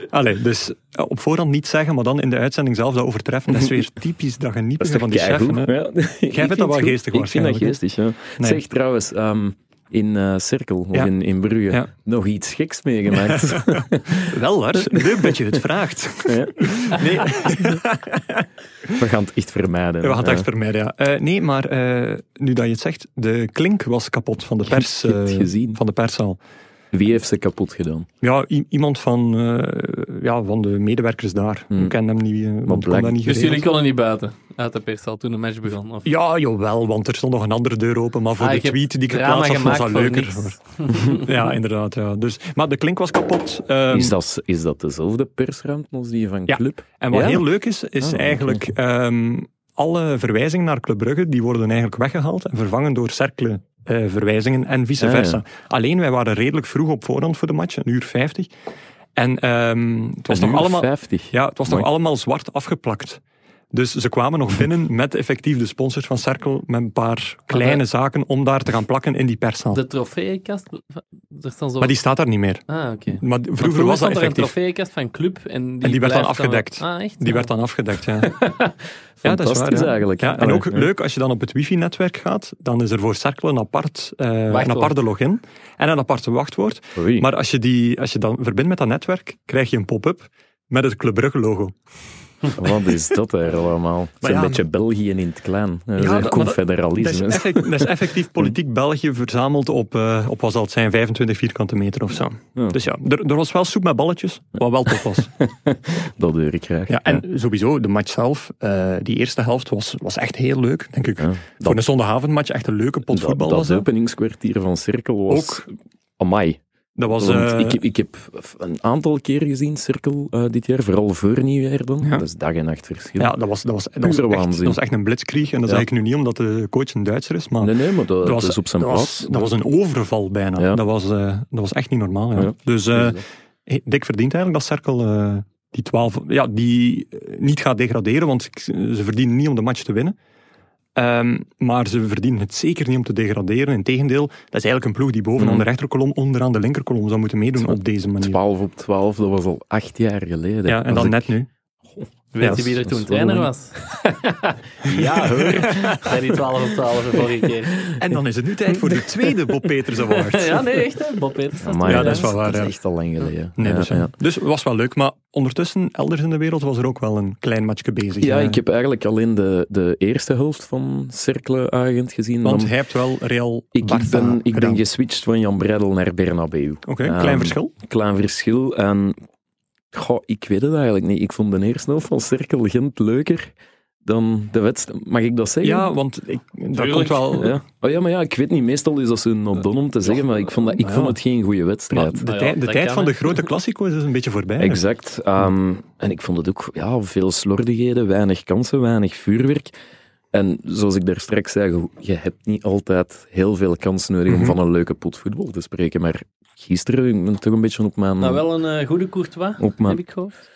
Allee, dus eh, op voorhand niet zeggen, maar dan in de uitzending zelf dat overtreffen. Dat is weer typisch dat je niet
Dat is
meer van
toch
die chef.
keigoed?
hè.
Ja. Ik
dat
vind
wel
het goed.
geestig
Ik vind dat
waarschijnlijk, hè?
geestig, ja.
Nee.
Zeg trouwens, ehm, in eh, Cirkel, of
Ja.
in, in Brugge,
Ja.
nog iets geks meegemaakt.
Wel, Lars, leuk dat je het vraagt.
Ja.
Nee,
We gaan het echt vermijden.
we gaan het
Ja.
echt vermijden, ja. Eh, nee, maar eh, nu dat je het zegt, de klink was kapot van de, pers,
Je hebt het
eh,
gezien.
van de perszaal.
Wie heeft ze kapot gedaan?
Ja, i- iemand van, eh, ja, van de medewerkers daar.
Hmm.
Ik ken hem niet, eh, want ik kon
blijk-
dat niet
Dus
geregeld.
jullie konden niet buiten uit de perszaal toen de match begon? Of?
Ja, jawel, want er stond nog een andere deur open, maar voor
Ah,
de
je hebt
tweet die ik
drama
geplaatst had, was
gemaakt
dat
voor
leuker.
niks.
Ja, inderdaad. Ja. Dus, maar de klink was kapot. ehm,
Is dat, is dat dezelfde persruimte als die van
Ja.
Club?
En wat
Ja?
heel leuk is, is
Ah, oké.
eigenlijk ehm, alle verwijzingen naar Club Brugge, die worden eigenlijk weggehaald en vervangen door cerkelen eh, verwijzingen en vice
Ah, ja.
versa. Alleen, wij waren redelijk vroeg op voorhand voor de match, een uur 50. En ehm, het was
Een
nog
uur
allemaal...
50.
Ja, het was nog
Mooi.
allemaal zwart afgeplakt. Dus ze kwamen nog binnen met effectief de sponsors van Cerkel met een paar
Ah,
kleine
dat-
zaken om daar te gaan plakken in die perszaal.
De trofeeënkast, er staan zo...
Maar die staat daar niet meer.
Ah, oké.
Maar d-
Want
vroeger was dat
stond er een
effectief.
trofeeënkast van club en die,
die werd dan
blijft
afgedekt.
wel- Ah, echt?
Die
Ja.
werd dan afgedekt, ja. ja, dat is
Fantastisch
waar. ja.
eigenlijk.
Ja, en
Allee,
ook leuk, als je dan op het wifi-netwerk gaat, dan is er voor Cerkel een, apart, eh, een
Wachtwoord.
aparte login en een aparte wachtwoord.
Oei.
Maar als je, die, als je dan verbindt met dat netwerk, krijg je een pop-up met het Club Brugge logo.
Wat is dat er allemaal? Het is een
ja,
beetje België in het klein. Dat is
Ja,
een
dat- maar dat- Dat is,
confederalisme.
effect- dat is effectief politiek België verzameld op, eh, op wat zal het zijn, 25 vierkante meter of zo.
Ja.
Dus ja, er, er was wel soep met balletjes, wat wel tof was.
Dat hoor ik graag.
Ja, en sowieso, de match zelf, eh, die eerste helft was, was echt heel leuk, denk ik.
Ja.
Voor een zondagavondmatch echt een leuke pot
Dat,
voetbal was
dat
dat.
openingskwartier van Cirkel was...
Ook,
Amai.
dat was...
Want
eh,
ik, heb- ik heb een aantal keer gezien Cirkel eh, dit jaar, vooral voor nieuwjaar dan.
Ja.
Dat is dag en nacht verschil.
ja, dat was, dat, was, dat, was
Pure
echt,
waanzin.
dat was echt een blitzkrieg. En dat
Ja.
zeg ik nu niet omdat de coach een Duitser is, maar
Nee, nee, maar dat,
dat, was,
dat is op zijn
dat
plaats.
was, dat was een overval bijna.
Ja.
Dat, was, eh, dat was echt niet normaal. Ja.
Ja.
Dus eh, Hey, Dick verdient eigenlijk dat Cerkel eh, die 12, ja, die eh, niet gaat degraderen, want ik- ze verdienen niet om de match te winnen. Ehm, maar ze verdienen het zeker niet om te degraderen. Integendeel, dat is eigenlijk een ploeg die bovenaan
Mhm.
de rechterkolom onderaan de linkerkolom zou moeten meedoen
Twa-
op deze manier.
12 op 12, dat was al acht jaar geleden.
Ja, en
Als
dan
ik-
net nu.
Weet
Ja,
je wie er
dat is
toen
wel
trainer
lang.
was? ja hoor, bij die 12 op 12 de vorige keer.
En dan is het nu tijd voor de tweede Bob Peters Award.
ja, nee, echt hè. Bob Peters was
Amai,
Ja,
toen
dat is wel
trainer.
waar,
Dat
ja.
is echt al lang geleden.
Nee,
ja,
dus, ja.
ja.
dus het was wel leuk, maar ondertussen, elders in de wereld, was er ook wel een klein matchje bezig.
Ja,
Eh,
ik heb eigenlijk alleen de, de eerste helft van Cercle Agent gezien.
Want
Dan-
hij heeft wel Real
ik, ik
Barca
ben, ik
gedaan.
ben geswitcht van Jan Breidel naar Bernabeu.
Oké,
Ehm,
klein verschil.
Klein verschil. En goh, ik weet het eigenlijk niet. Ik vond de eerste helft van Cercle Gent leuker dan de wedstrijd. Mag ik dat zeggen?
Ja, want ik, dat
Tuurlijk.
komt wel...
Ja. Oh ja, maar ja, ik weet niet. Meestal is dat zo'n nodon om te zeggen, maar ik vond, dat, ik
Ja.
vond het geen goede wedstrijd.
Maar de,
Nou ja,
tij- de
dat
tijd
kan,
van
hè.
de grote klassico's is dus een beetje voorbij. hè.
Exact. Ehm, en ik vond het ook ja, veel slordigheden, weinig kansen, weinig vuurwerk. En zoals ik daar straks zei, je- je hebt niet altijd heel veel kans nodig om
Mhm.
van een leuke pot voetbal te spreken. Maar gisteren ik ben toch een beetje op mijn,
Nou, wel een eh, goede Courtois,
op mijn
heb ik gehoord.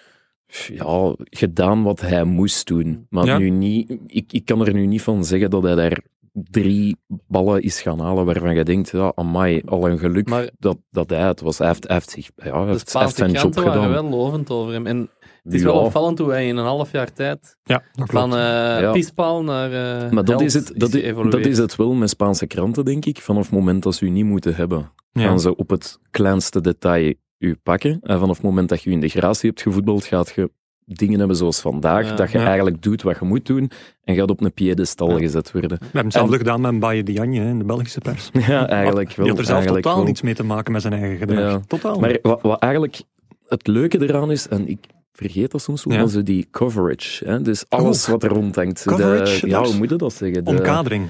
ja, gedaan wat hij moest doen. Maar
Ja.
nu niet, ik, ik kan er nu niet van zeggen dat hij daar drie ballen is gaan halen waarvan je denkt, ja, amai, al een geluk
Maar-
dat, dat hij het was. Hij heeft, hij heeft, zich, ja, hij
De
heeft, hij heeft
Spaanse
zijn job
kranten
gedaan.
waren wel lovend over hem. En het is
Ja.
wel opvallend hoe hij in een half jaar tijd
Ja, dat klopt.
van eh
Ja.
pispaal naar eh
Maar dat
held
is, het, dat, i-
geëvolueerd.
dat is het wel met Spaanse kranten, denk ik. Vanaf het moment dat ze u niet moeten hebben,
ja.
gaan ze op het kleinste detail u pakken. En vanaf het moment dat je je integratie hebt gevoetbald, gaat je dingen hebben zoals vandaag,
Ja.
dat je
Ja.
eigenlijk doet wat je moet doen en gaat op een piedestal
Ja.
gezet worden.
We hebben hetzelfde gedaan met Mbaye Diagne hè, in de Belgische pers.
Ja, eigenlijk wel.
Die had er zelf
eigenlijk
totaal
wel.
niets mee te maken met zijn eigen gedrag.
Ja.
Totaal.
Maar wat, wat eigenlijk het leuke eraan is, en ik vergeet dat soms wel,
Ja.
maar zo die coverage. Hè? Dus alles
Oh.
wat er rondhangt. De-
Coverage,
ja,
dat is-
hoe moet je dat zeggen? De-
Omkadering.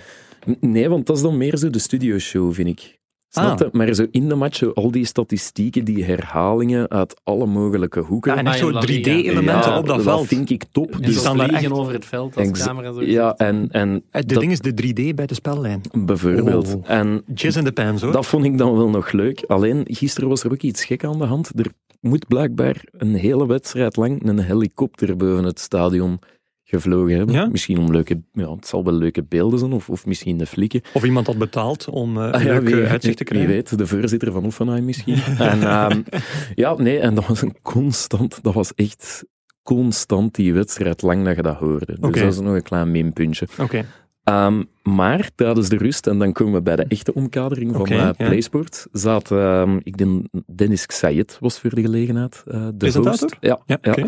N- Nee, want dat is dan meer zo de studioshow, vind ik.
Ah.
Snap je? Maar zo in de match, zo al die statistieken, die herhalingen uit alle mogelijke hoeken.
Ja, en echt
Ah, in
zo
La Liga.
3D-elementen
Ja,
op dat veld.
vind ik top.
die
die
Dus,
staan
staan
daar echt-
over het veld als
Exa-
camera zo
ja, en, en
Het
dat-
ding is Eh, de 3D bij de spellijn.
bijvoorbeeld.
Oh.
En
Jizz in de pens hoor.
Dat vond ik dan wel nog leuk. Alleen, gisteren was er ook iets gek aan de hand. Er moet blijkbaar een hele wedstrijd lang een helikopter boven het stadion gevlogen hebben.
Ja?
Misschien om leuke... Ja, het zal wel leuke beelden zijn, of, of misschien de flikken.
Of iemand had betaald om eh, een
Ah ja,
leuk
wie-
eh, uitzicht te
wie
krijgen.
weet, de voorzitter van Offenheim misschien. en, ehm, ja, nee, en dat was een constant... Dat was echt constant die wedstrijd lang dat je dat hoorde. Dus
Oké.
dat is nog een klein minpuntje.
Oké.
Ehm, maar tijdens de rust, en dan komen we bij de echte omkadering van
Oké,
eh,
ja.
PlaySport, zat, ehm, ik denk, Dennis Xayet was voor de gelegenheid eh, de
Presentator?
host. Ja,
Ja,
ja.
oké.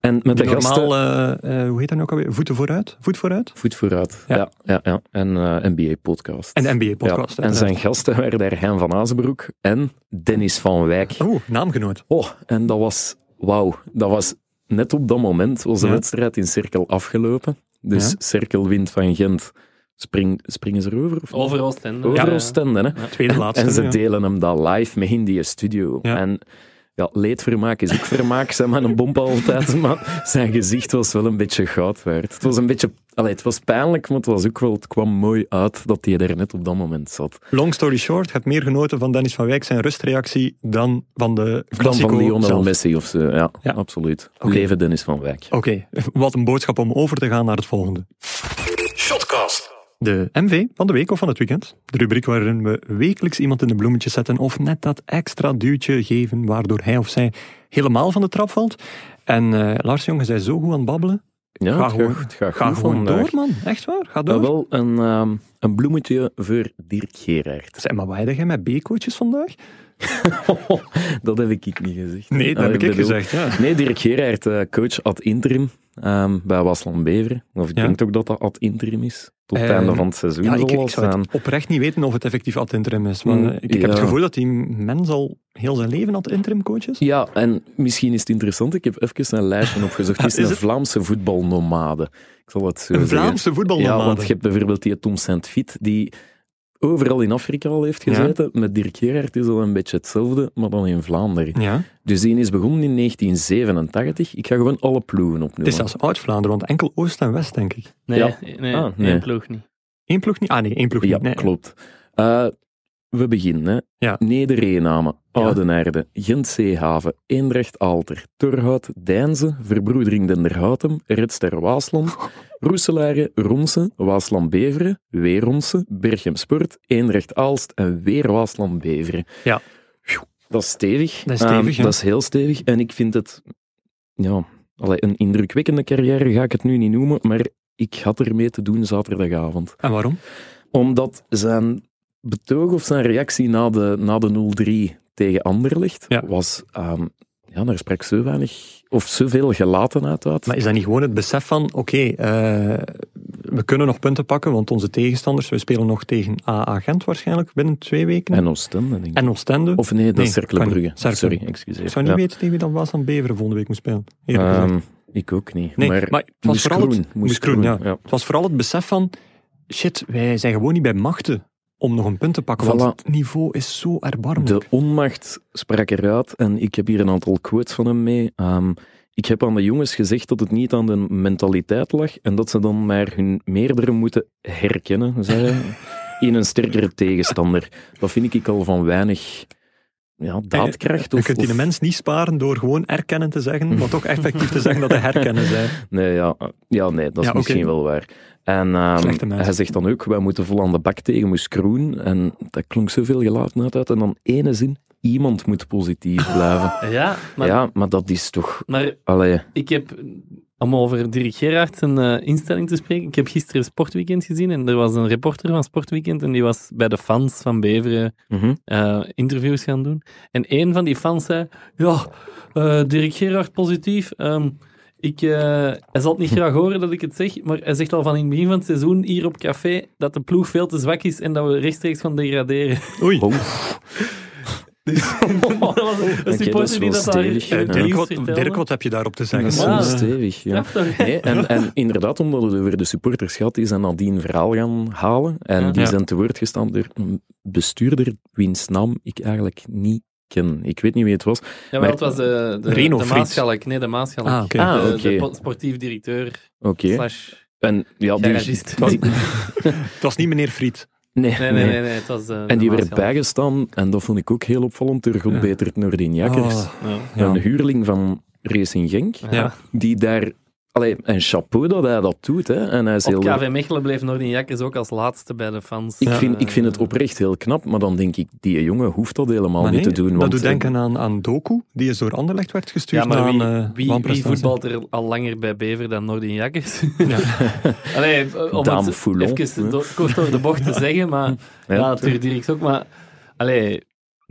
En met
Die
de gasten,
normaal, eh, eh, hoe heet dat nou ook alweer? Voeten vooruit? Voet vooruit?
voet vooruit.
Ja.
Ja, ja, ja, En eh, NBA-podcast.
En de NBA-podcast.
en zijn gasten waren daar Hein van Azenbroek en Dennis van Wijk.
Oeh, naamgenoot.
Oh, en dat was, wauw, dat was net op dat moment was de
Ja.
wedstrijd in Cirkel afgelopen. Dus
Ja.
Cirkel wint van Gent. Spring, springen ze erover? Of niet?
Over Oostende.
Over
Ja.
Oostende, hè?
Tweede laatste.
En ze
ja.
delen hem dan live mee in die studio.
Ja.
En Ja, leedvermaak is ook vermaak, zijn maar een bompa altijd. Maar zijn gezicht was wel een beetje goud waard. Het was een beetje... Allee, het was pijnlijk, maar het, was ook wel, het kwam mooi uit dat hij er net op dat moment zat.
Long story short, je hebt meer genoten van Dennis van Wijk zijn rustreactie dan van de
Dan
Classico
van Lionel
zelf.
Messi of zo. Ja,
Ja.
absoluut.
Oké.
Leven Dennis van Wijk.
Oké, wat een boodschap om over te gaan naar het volgende.
Shotcast.
De MV van de week of van het weekend. De rubriek waarin we wekelijks iemand in de bloemetjes zetten of net dat extra duwtje geven waardoor hij of zij helemaal van de trap valt. En eh, Lars Jongen zij zo goed aan het babbelen.
Ja,
Ga
het
gewoon-
gaat- het gaat
Ga
goed
gewoon
vandaag.
door, man. Echt waar, ga door.
Ja, wel een, ehm, een bloemetje voor Dirk Gerard.
Zeg maar, wat heb jij met B-coaches vandaag?
dat heb ik niet gezegd.
Nee, dat
Ah,
heb ik,
bedoel-
gezegd. Ja.
Nee, Dirk Gerard, eh, coach ad interim ehm, bij Wasland Beveren. Of ik
Ja.
denk ook dat dat ad interim is. Tot het
Eh,
einde van het seizoen
Ja, ik,
zal
ik
dat
zou
staan.
het oprecht niet weten of het effectief ad interim is. Maar
Mm,
eh, ik, ik heb het
ja.
gevoel dat die mens al heel zijn leven ad interim coach is.
Ja, en misschien is het interessant. Ik heb even een lijstje opgezocht. Het is,
Is
een
het?
Vlaamse voetbalnomade. Ik zal het zo
Een
zeggen.
Vlaamse voetbalnomade.
Ja, want je hebt bijvoorbeeld die Tom Saint-Fiet, die overal in Afrika al heeft gezeten. Met Dirk Gerard is al een beetje hetzelfde, maar dan in Vlaanderen.
Ja.
Dus die is begonnen in 1987. Ik ga gewoon alle ploegen
Het is
opnoemen.
zelfs Oud-Vlaanderen, want enkel Oost en West, denk ik.
Nee,
Ja.
nee,
Ah,
één
nee.
ploeg niet.
Eén ploeg niet? Ah nee, één ploeg
Ja,
niet. Nee.
klopt. Eh, we beginnen. Hè.
Ja.
Neder-Eename, Oudenaarde, Gent-Zeehaven, Eendrecht-Alter, Torhout, Deinze, Verbroedering Denderhoutem, Redster Waasland, Roeselare, Ronsen, Waasland-Beveren, weer Ronsen, Berchem Sport, Eendrecht-Aalst en weer Waasland-Beveren.
Ja.
Pjoe, Dat is stevig.
Dat is stevig,
Ehm,
ja.
Dat is heel stevig. En ik vind het... Ja, allee, een indrukwekkende carrière ga ik het nu niet noemen, maar ik had ermee te doen zaterdagavond
En waarom?
omdat zijn betoog of zijn reactie na de, na de 0-3 tegen Anderlecht
Ja.
was... ehm, ja, daar sprak zo weinig of zoveel gelatenheid uit.
Maar is dat niet gewoon het besef van, oké, eh, we kunnen nog punten pakken, want onze tegenstanders, we spelen nog tegen AA Gent waarschijnlijk binnen twee weken. En,
en Oostende, denk ik.
Oostende.
Of nee, dat
Nee,
is Cercle
kan niet.
Brugge.
Cercle.
Sorry,
ik
excuseer.
zou niet
Ja.
weten tegen wie dat was aan Beveren volgende week moest spelen. Eerlijk gezegd.
Ehm, ik ook niet.
nee, maar,
maar
het, was
moest
vooral het,
Kroen, moest
moest Kroen,
Kroen,
ja.
ja.
het was vooral het besef van, shit, wij zijn gewoon niet bij machten om nog een punt te pakken,
Voilà.
want het niveau is zo erbarmelijk.
de onmacht sprak eruit. En ik heb hier een aantal quotes van hem mee. Ehm, ik heb aan de jongens gezegd dat het niet aan de mentaliteit lag en dat ze dan maar hun meerdere moeten herkennen, zei hij, in een sterkere tegenstander. Dat vind ik al van weinig
Eh,
ja, daadkracht.
Je
Of,
kunt die de
of-
mens niet sparen door gewoon erkennen te zeggen, maar toch effectief te zeggen dat hij herkennen zijn.
Nee, ja, ja, nee, dat is
Ja, oké.
misschien wel waar. En ehm,
Slechte mens.
hij zegt dan ook, wij moeten vol aan de bak tegen moest Kroen. En dat klonk zoveel gelatenheid uit. En dan ene zin, iemand moet positief blijven.
Ja, maar,
ja, maar dat is toch...
maar
Allee,
Ik heb, eh, om over Dirk Gerard zijn eh, instelling te spreken, ik heb gisteren Sportweekend gezien en er was een reporter van Sportweekend en die was bij de fans van Beveren
mhm.
eh, interviews gaan doen. En een van die fans zei, ja, eh Dirk Gerard positief. ehm, ik, eh, hij zal het
Hm.
niet graag horen dat ik het zeg, maar hij zegt al van in het begin van het seizoen hier op café dat de ploeg veel te zwak is en dat we rechtstreeks gaan degraderen. Dus
Oei. eh,
dat
Oh.
was een
dat
supporter
is
die
wel
dat daar in
stevig.
het
Eh,
Dirk,
nieuws
wat,
vertelde.
Dirk, wat heb je daarop te
Dat
zeggen?
is
Ja.
wel
man?
Ah.
stevig, ja.
Straf toch?
Nee, en, en inderdaad, omdat het over de supporters gaat, die zijn nadien verhaal gaan halen. En
Ja.
die
Ja.
zijn te woord gestaan door een bestuurder wiens naam ik eigenlijk niet ken. Ik weet niet wie het was.
Ja,
Maar-
het was de, de,
Reno
de
Fries.
Maasschalk. Nee, de Maasschalk.
Ah, oké.
Ah,
de,
oké.
de po- sportief directeur
Oké.
slash
En ja, die-
garagist.
die-
Het was niet meneer Friet.
nee,
Nee, nee, nee, nee, het was... eh,
En die
de
werd
Maasschalk.
bijgestaan, en dat vond ik ook heel opvallend, door Godbeter Noordin Jakkers.
Oh,
Ah, Ja.
ja.
Een huurling van Racing Genk,
Ja.
Ja.
die daar... Allee, en chapeau dat hij dat doet, hè. En hij is
Op
heel...
KV Mechelen bleef Nordin Jakkers ook als laatste bij de fans.
Ik,
eh,
vind, ik vind het oprecht heel knap, maar dan denk ik, die jongen hoeft dat helemaal
Maar
niet
nee,
te doen.
dat
want, eh,
doet denken aan, aan Doku, die is door Anderlecht werd gestuurd.
Ja, maar
naar
wie,
een, eh,
wie, wie
wanprestatie.
voetbalt er al langer bij Bever dan Nordin Jakkers?
Ja.
Allee, eh, om
Dame
het
Foulon,
even
hè.
do- kort door de bocht te zeggen, maar...
Ja.
Ja, natuurlijk direct ook, maar... Allee,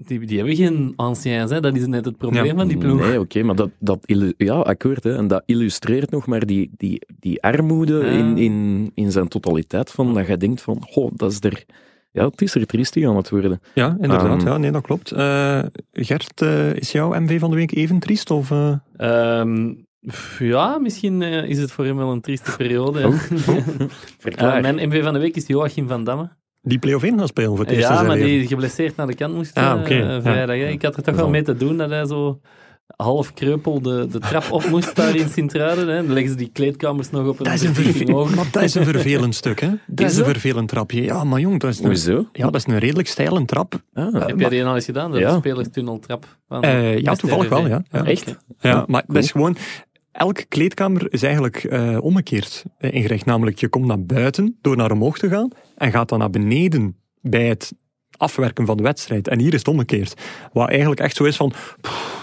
die, die hebben geen anciens, hè. Dat is net het probleem
Ja.
van die ploeg.
Nee, oké, maar dat, dat illu- ja, akkoord, hè, en dat illustreert nog maar die, die, die armoede
Ja.
in, in, in zijn totaliteit, van dat je denkt van, goh, dat is er... Ja, het is er triestig aan het worden.
ja, inderdaad.
Ehm.
ja, nee, dat klopt. Eh, Gert, eh, is jouw MV van de week even triest? Of, eh?
Ehm, pff, ja, misschien eh, is het voor hem wel een trieste periode. hè.
Oh.
Eh, mijn MV van de week is Joachim van Damme.
die play-off in gaan spelen voor het eerst in
Ja,
zijn
maar
leven.
die geblesseerd naar de kant moest
Ah,
eh,
oké, ja.
vrijdag. hè. Ik had er toch wel
Dan-
mee te doen dat hij zo half kreupel de, de trap op moest daar in Sint-Truiden. hè. Dan leggen ze die kleedkamers nog op een
Dat is, een
verdieping
verve-
hoger.
maar dat is een vervelend stuk, hè? Dat is een
dat?
vervelend trapje. Ja, maar jong, dat is een,
Hoezo?
ja, dat is een redelijk steile trap.
Ah,
Heb jij die al eens gedaan, de
Ja.
spelerstunneltrap? van
Eh, ja,
STRV?
toevallig wel, ja. ja.
Ah,
Echt?
oké.
Ja, maar dat is gewoon... Elke kleedkamer is eigenlijk eh, omgekeerd eh, ingericht. Namelijk, je komt naar buiten door naar omhoog te gaan en gaat dan naar beneden bij het afwerken van de wedstrijd. En hier is het omgekeerd. Wat eigenlijk echt zo is van...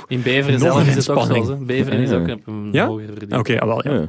In Beveren
Nog
zelf
een
is het ook zo.
inspanning.
hè. Beveren is
Ja.
ook op een
Ja?
hogere verdieping.
Oké, ah, wel, ja.
ja.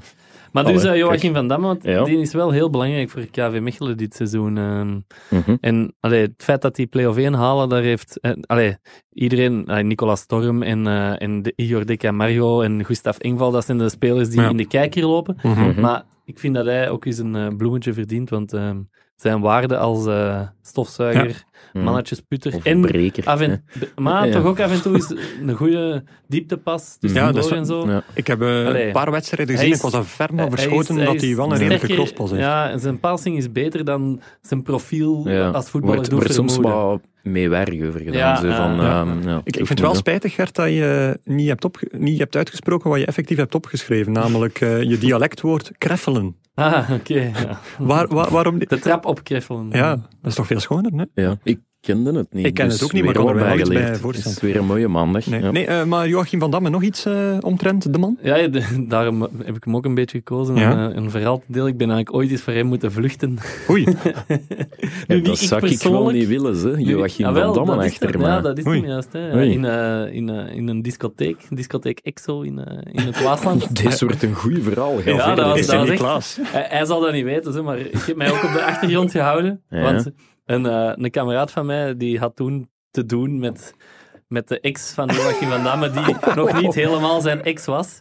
Maar dus
Allee,
eh, Joachim van Damme, want
Ja.
die is wel heel belangrijk voor KV Mechelen dit seizoen. ehm.
Mhm.
En allee, het feit dat die play-off 1 halen, daar heeft eh, allee, iedereen, eh, Nicolas Torm en, eh, en de Igor De Camargo en Gustav Engval, dat zijn de spelers die
Ja.
in de kijker lopen.
Mhm.
Maar ik vind dat hij ook eens een eh, bloemetje verdient, want ehm, zijn waarde als eh, stofzuiger,
Mhm.
mannetjesputter
Of een
en...
breker.
Af en-
hè.
b- maar
Ja.
toch ook af en toe is een goede dieptepas tussen
Ja,
ja,
dat is
en zo.
Ja.
Ik heb eh,
Allee.
een paar wedstrijden
Hij
gezien.
is-
Ik was daar ver van
Hij
verschoten
is- hij
dat hij
is
wel een redelijke
sterker-
crosspas heeft.
Ja, en zijn passing is beter dan zijn profiel
Ja.
als voetballer
Wordt,
doet
wordt soms
vermoeden.
wat meewerk over gedaan.
Ja,
zo
ja,
van,
ja.
ehm, ja,
Ik, ik
hoeft
vind het
niet,
wel
hè.
spijtig, Gert, dat je niet hebt, opge- niet hebt uitgesproken wat je effectief hebt opgeschreven. Namelijk eh, je dialectwoord kreffelen.
Ah, oké. ja.
Waar, waar- waarom... niet?
De trap opkreffelen.
Ja, dat is toch veel schoner, hè?
Ja, ik kende het niet.
Ik ken
dus
het ook niet, maar
weer
ik kan er
wat
mij wel iets
bijgeleerd.
bij voorstellen.
Het is weer een mooie maandag.
Nee,
ja.
nee eh, maar Joachim van Damme, nog iets eh, omtrent de man?
Ja, ja, de- daarom heb ik hem ook een beetje gekozen.
Ja.
Een, eh, een verhaal te delen. Ik ben eigenlijk ooit eens voor hem moeten vluchten.
Oei.
Ja,
Nu,
dat
niet
zou ik wel
persoonlijk.
niet willen, hè.
Nu-
Joachim
Ah, wel,
van Damme
dat is
achter
hem,
me.
Ja, dat is
Oei.
hem juist. Hè.
Oei.
In, eh, in, eh, in een discotheek, discotheek EXO in, eh, in het Waasland.
Dit wordt een goed verhaal.
Ja, dat was-
Is
dat
hij
was
niet
echt-
Klaas?
hij, hij zal dat niet weten, zo, maar ik heb mij ook op de achtergrond gehouden.
Ja.
Want een, eh, een kameraad van mij die had toen te doen met, met de ex van Joachim van Damme, die
Oh.
nog niet helemaal zijn ex was.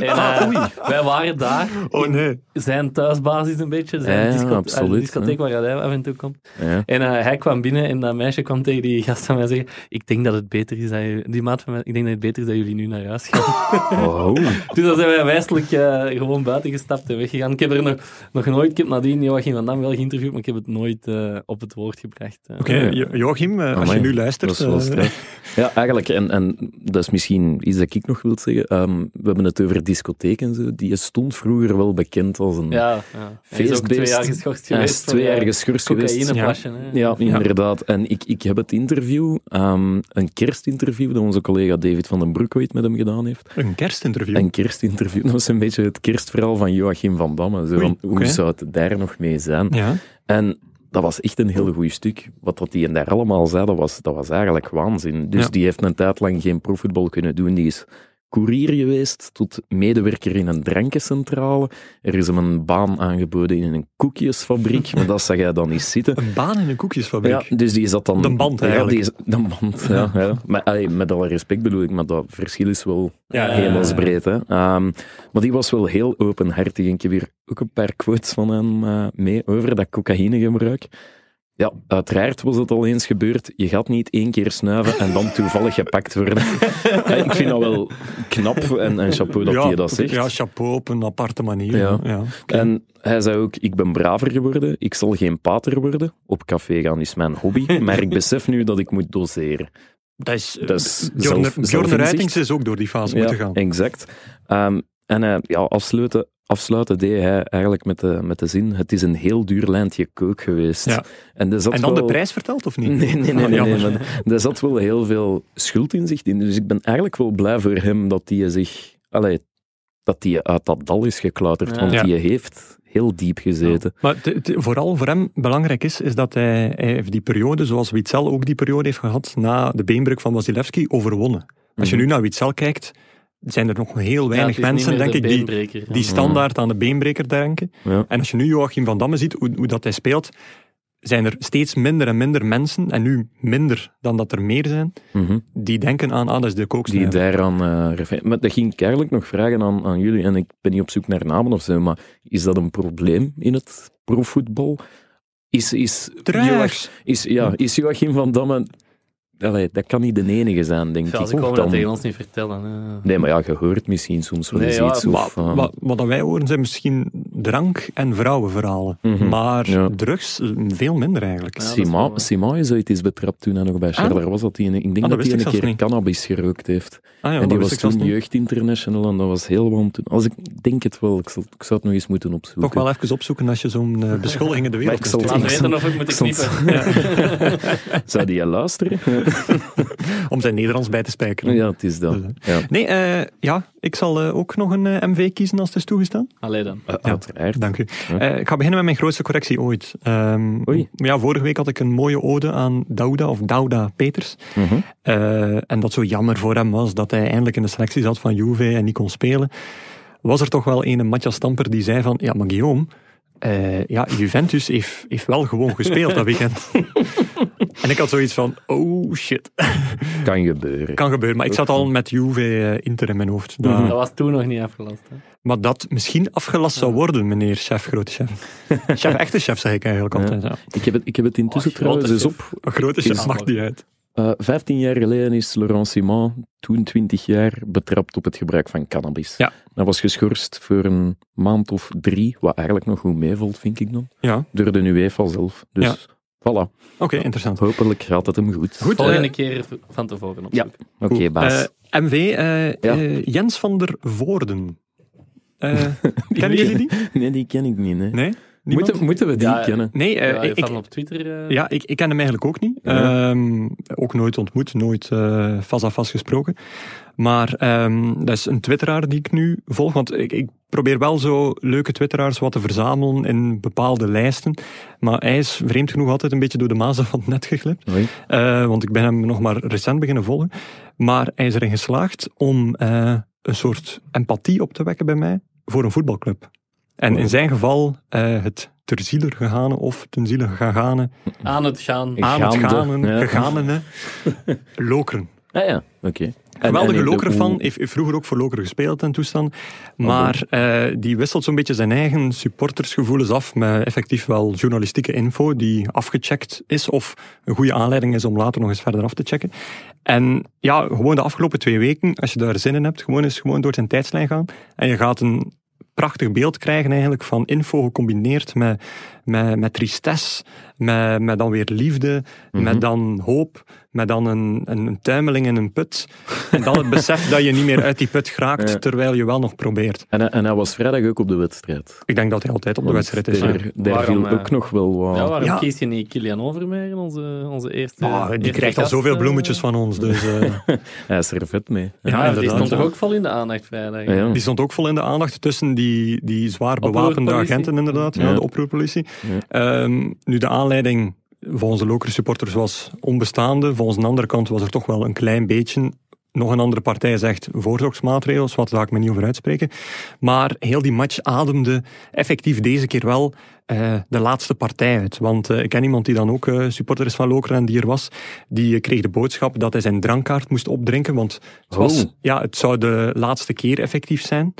En,
Ah,
eh, wij waren daar
Oh nee.
zijn thuisbasis een beetje. Zijn
Ja,
disco-
absoluut,
eh, de discotheek
ja.
waar hij af en toe komt.
Ja.
En eh, hij kwam binnen en dat meisje kwam tegen die gast van mij zeggen: Ik denk dat het beter is dat jullie, die maat van mij, ik denk dat het beter is dat jullie nu naar huis gaan.
Oh,
dus dan zijn wij wijselijk eh, gewoon buiten gestapt en weggegaan. Ik heb er nog, nog nooit, ik heb nadien Joachim van Dam wel geïnterviewd, maar ik heb het nooit eh, op het woord gebracht. eh.
Oké, Jo- Joachim, eh, als je
Amai,
nu
dat
luistert...
is wel
eh,
straf. Ja, eigenlijk, en, en dat is misschien iets dat ik nog wil zeggen. Ehm, we hebben het over discotheek en zo. Die stond vroeger wel bekend als een...
Ja, ja. Hij is ook
Feestbeest.
twee jaar geschorst
Hij
geweest.
is twee
voor, eh,
jaar geschorst geweest.
cocaïneplasje, hè.
Ja, inderdaad. En ik, ik heb het interview, ehm, een kerstinterview, dat onze collega David van den Broek ooit met hem gedaan heeft.
een kerstinterview.
Een kerstinterview, dat was een beetje het kerstverhaal van Joachim van Damme. Zo,
Oei,
van, hoe
oké.
zou het daar nog mee zijn?
Ja.
En dat was echt een heel goed stuk. Wat dat die en daar allemaal zei, dat was, dat was eigenlijk waanzin. Dus
Ja.
die heeft een tijd lang geen profvoetbal kunnen doen. Die is koerier geweest, tot medewerker in een drankencentrale. Er is hem een baan aangeboden in een koekjesfabriek, maar dat zag hij dan niet zitten.
Een baan in een koekjesfabriek.
Ja, dus die zat dan...
De band
Ja,
eigenlijk.
die is, de band, ja. ja. Maar, allee, met alle respect bedoel ik, maar dat verschil is wel
Ja, ja, ja.
hemelsbreed. Hè. Ehm, maar die was wel heel openhartig. En ik heb hier ook een paar quotes van hem eh, mee over dat cocaïnegebruik. Ja, uiteraard was het al eens gebeurd. Je gaat niet één keer snuiven en dan toevallig gepakt worden. Ja, ik vind dat wel knap en, en chapeau dat hij dat
oké,
zegt.
Ja, chapeau op een aparte manier.
Ja.
Ja.
En hij zei ook, ik ben braver geworden, ik zal geen pater worden. Op café gaan is mijn hobby, maar ik besef nu dat ik moet doseren.
Dat is... eh,
Dat is
Bjorn,
zelf- zelfinzicht.
is ook door die fase moeten gaan.
Exact. Ehm, en hij, ja, afsluiten, afsluiten deed hij eigenlijk met de, met de zin, het is een heel duur lijntje kook geweest.
Ja.
En, er zat
En dan de
wel-
prijs verteld, of niet?
Nee, nee, nee.
Ah,
nee, nee,
jammer.
maar daar zat wel heel veel schuld in zich in. Dus ik ben eigenlijk wel blij voor hem dat hij zich... Allee, dat hij uit dat dal is geklauterd,
Ja.
want
Ja.
hij heeft heel diep gezeten.
Maar het- het vooral voor hem belangrijk is, is dat hij, hij heeft die periode, zoals Witzel ook die periode heeft gehad, na de beenbreuk van Wasilewski, overwonnen. Als je nu naar Witzel kijkt, zijn er nog heel
Mhm. Ja, het
weinig
is niet
mensen,
meer
denk
de Mhm.
ik, die,
beenbreker, ja.
die standaard aan de beenbreker denken.
Ja.
En als je nu Joachim van Damme ziet, hoe, hoe dat hij speelt, zijn er steeds minder en minder mensen, en nu minder dan dat er meer zijn,
Mhm.
die denken aan, ah, dat is de
Die
kooksnijder.
daaraan... eh, refer- maar dat ging ik eigenlijk nog vragen aan, aan jullie, en ik ben niet op zoek naar namen of zo, maar is dat een probleem in het profvoetbal? Is, is, Joach-
Drugs.
is, ja, is Joachim van Damme... Allee, dat kan niet de enige zijn, denk
Ja,
ik.
ze komen
Dan-
dat tegen ons niet vertellen. hè.
Nee, maar ja, je hoort misschien soms wel
Nee,
eens
ja,
iets. Of, eh,
Wat, wat dat wij horen zijn misschien drank- en vrouwenverhalen.
Mhm.
Maar
Ja.
drugs, eh, veel minder eigenlijk.
Ja, dat is wel
Sima,
waar.
Sima is ooit eens betrapt toen hij nog bij Charler was. Dat hij, een- ik denk
Ah? dat
dat
wist
hij
ik
een
zelfs
keer
niet.
cannabis gerookt heeft.
Ah ja,
en
dat
die
wist
was
ik zelfs
toen
niet.
jeugdinternational en dat was heel warm toen. Als ik ik denk het wel, ik, zal, ik zou het nog eens moeten opzoeken.
Toch wel even opzoeken als je zo'n eh, beschuldigingen de wereld
Maar ik zal
in
Laat
stuurt.
Ik
weten of ik moet
ik zal-
knippen.
Zou die je luisteren?
om zijn Nederlands bij te spijkeren.
ja, het is dat. Ja.
Nee, eh, ja, ik zal eh, ook nog een eh, MV kiezen als het is toegestaan.
Allee dan.
Eh, Uiteraard.
Dank u.
Ja.
Eh, ik ga beginnen met mijn grootste correctie ooit. Ehm,
Oei.
Ja, vorige week had ik een mooie ode aan Douda of Douda Peters.
Mhm.
Eh, en dat zo jammer voor hem was dat hij eindelijk in de selectie zat van Juve en niet kon spelen. Was er toch wel een Matthias Stamper die zei van, ja maar Guillaume, eh, ja, Juventus heeft, heeft wel gewoon gespeeld dat weekend. en ik had zoiets van, oh shit,
Kan gebeuren.
kan gebeuren. Maar ik zat al met Juve eh, Inter in mijn hoofd. Daar-
Mhm.
Dat was toen nog niet afgelast. Hè.
maar dat misschien afgelast zou worden, meneer chef, grote chef. chef, echte chef, zeg ik eigenlijk
Ja.
altijd. Ja.
Ik heb het, ik heb het intussen
Oh, grote
trouwens eens
chef.
op.
Een grote
Is-
chef mag niet uit.
Eh, 15 jaar geleden is Laurent Simon, toen 20 jaar, betrapt op het gebruik van cannabis.
Ja.
Hij was geschorst voor een maand of drie, wat eigenlijk nog goed meevalt, vind ik dan,
Ja, oké,
door de UEFA zelf. Dus
Ja.
voilà,
interessant.
hopelijk gaat het hem goed.
Goed, eh,
Volgende keer v- van tevoren
Ja.
opzoeken.
Oké, baas.
Eh, MV, eh, eh, Jens van der Voorden. Eh, kennen jullie die?
nee, die ken ik niet. Hè.
Nee? Niemand?
moeten, moeten we die
Ja,
kennen?
Nee, eh,
Ja,
ik,
van
ik-
op Twitter. eh,
ja, ik, ik ken hem eigenlijk ook niet.
Ja.
Ehm, ook nooit ontmoet, nooit eh vast aan vast gesproken. Maar ehm, dat is een twitteraar die ik nu volg. Want ik, ik probeer wel zo leuke twitteraars wat te verzamelen in bepaalde lijsten. Maar hij is vreemd genoeg altijd een beetje door de mazen van het net geglipt.
Oei.
Eh, want ik ben hem nog maar recent beginnen volgen. Maar hij is erin geslaagd om eh, een soort empathie op te wekken bij mij voor een voetbalclub. En
Wow.
in zijn geval eh, het ter ziele gegane of ten ziele gegane,
Aan het gaan.
Ja.
aan het
Gaande,
ganen,
ja.
geganene, Lokeren.
Ah ja, oké. En- en
Geweldige
heeft
Lokeren
ook-
fan, heeft, heeft vroeger ook voor Lokeren gespeeld en toestand. Maar eh, die wisselt zo'n beetje zijn eigen supportersgevoelens af met effectief wel journalistieke info die afgecheckt is of een goede aanleiding is om later nog eens verder af te checken. En ja, gewoon de afgelopen twee weken, als je daar zin in hebt, gewoon eens gewoon door zijn tijdslijn gaan en je gaat een prachtig beeld krijgen eigenlijk van info gecombineerd met, met, met tristesse, met, met dan weer liefde,
Mhm.
met dan hoop, met dan een, een, een tuimeling in een put. En dan het besef dat je niet meer uit die put geraakt,
Ja.
terwijl je wel nog probeert.
En, hij- en hij was vrijdag ook op de wedstrijd.
Ik denk dat hij altijd op de
Want
wedstrijd is.
Daar,
ja.
daar
Waarom,
viel
eh,
ook nog wel wat...
Ja, waarom
Ja.
kies je niet Kilian Overmeijer, onze, onze eerste
Ah, die
eerste
krijgt al
gast,
zoveel
eh?
bloemetjes van ons, dus eh,
Hij is er vet mee.
Ja,
Ja, die
inderdaad.
stond toch ook vol in de aandacht vrijdag.
Ja, ja.
die stond ook vol in de aandacht tussen die, die zwaar bewapende
Oproerpolitie.
agenten inderdaad, ja,
Ja.
de oproerpolitie. Ehm, nu, de aanleiding volgens de lokere supporters was onbestaande. Volgens de andere kant was er toch wel een klein beetje... Nog een andere partij zegt voorzorgsmaatregelen, wat daar ga ik me niet over uitspreken. Maar heel die match ademde effectief deze keer wel eh, de laatste partij uit. Want eh, ik ken iemand die dan ook eh, supporter is van Lokeren en die er was. Die eh, kreeg de boodschap dat hij zijn drankkaart moest opdrinken. Want het, was,
Oh.
ja, het zou de laatste keer effectief zijn.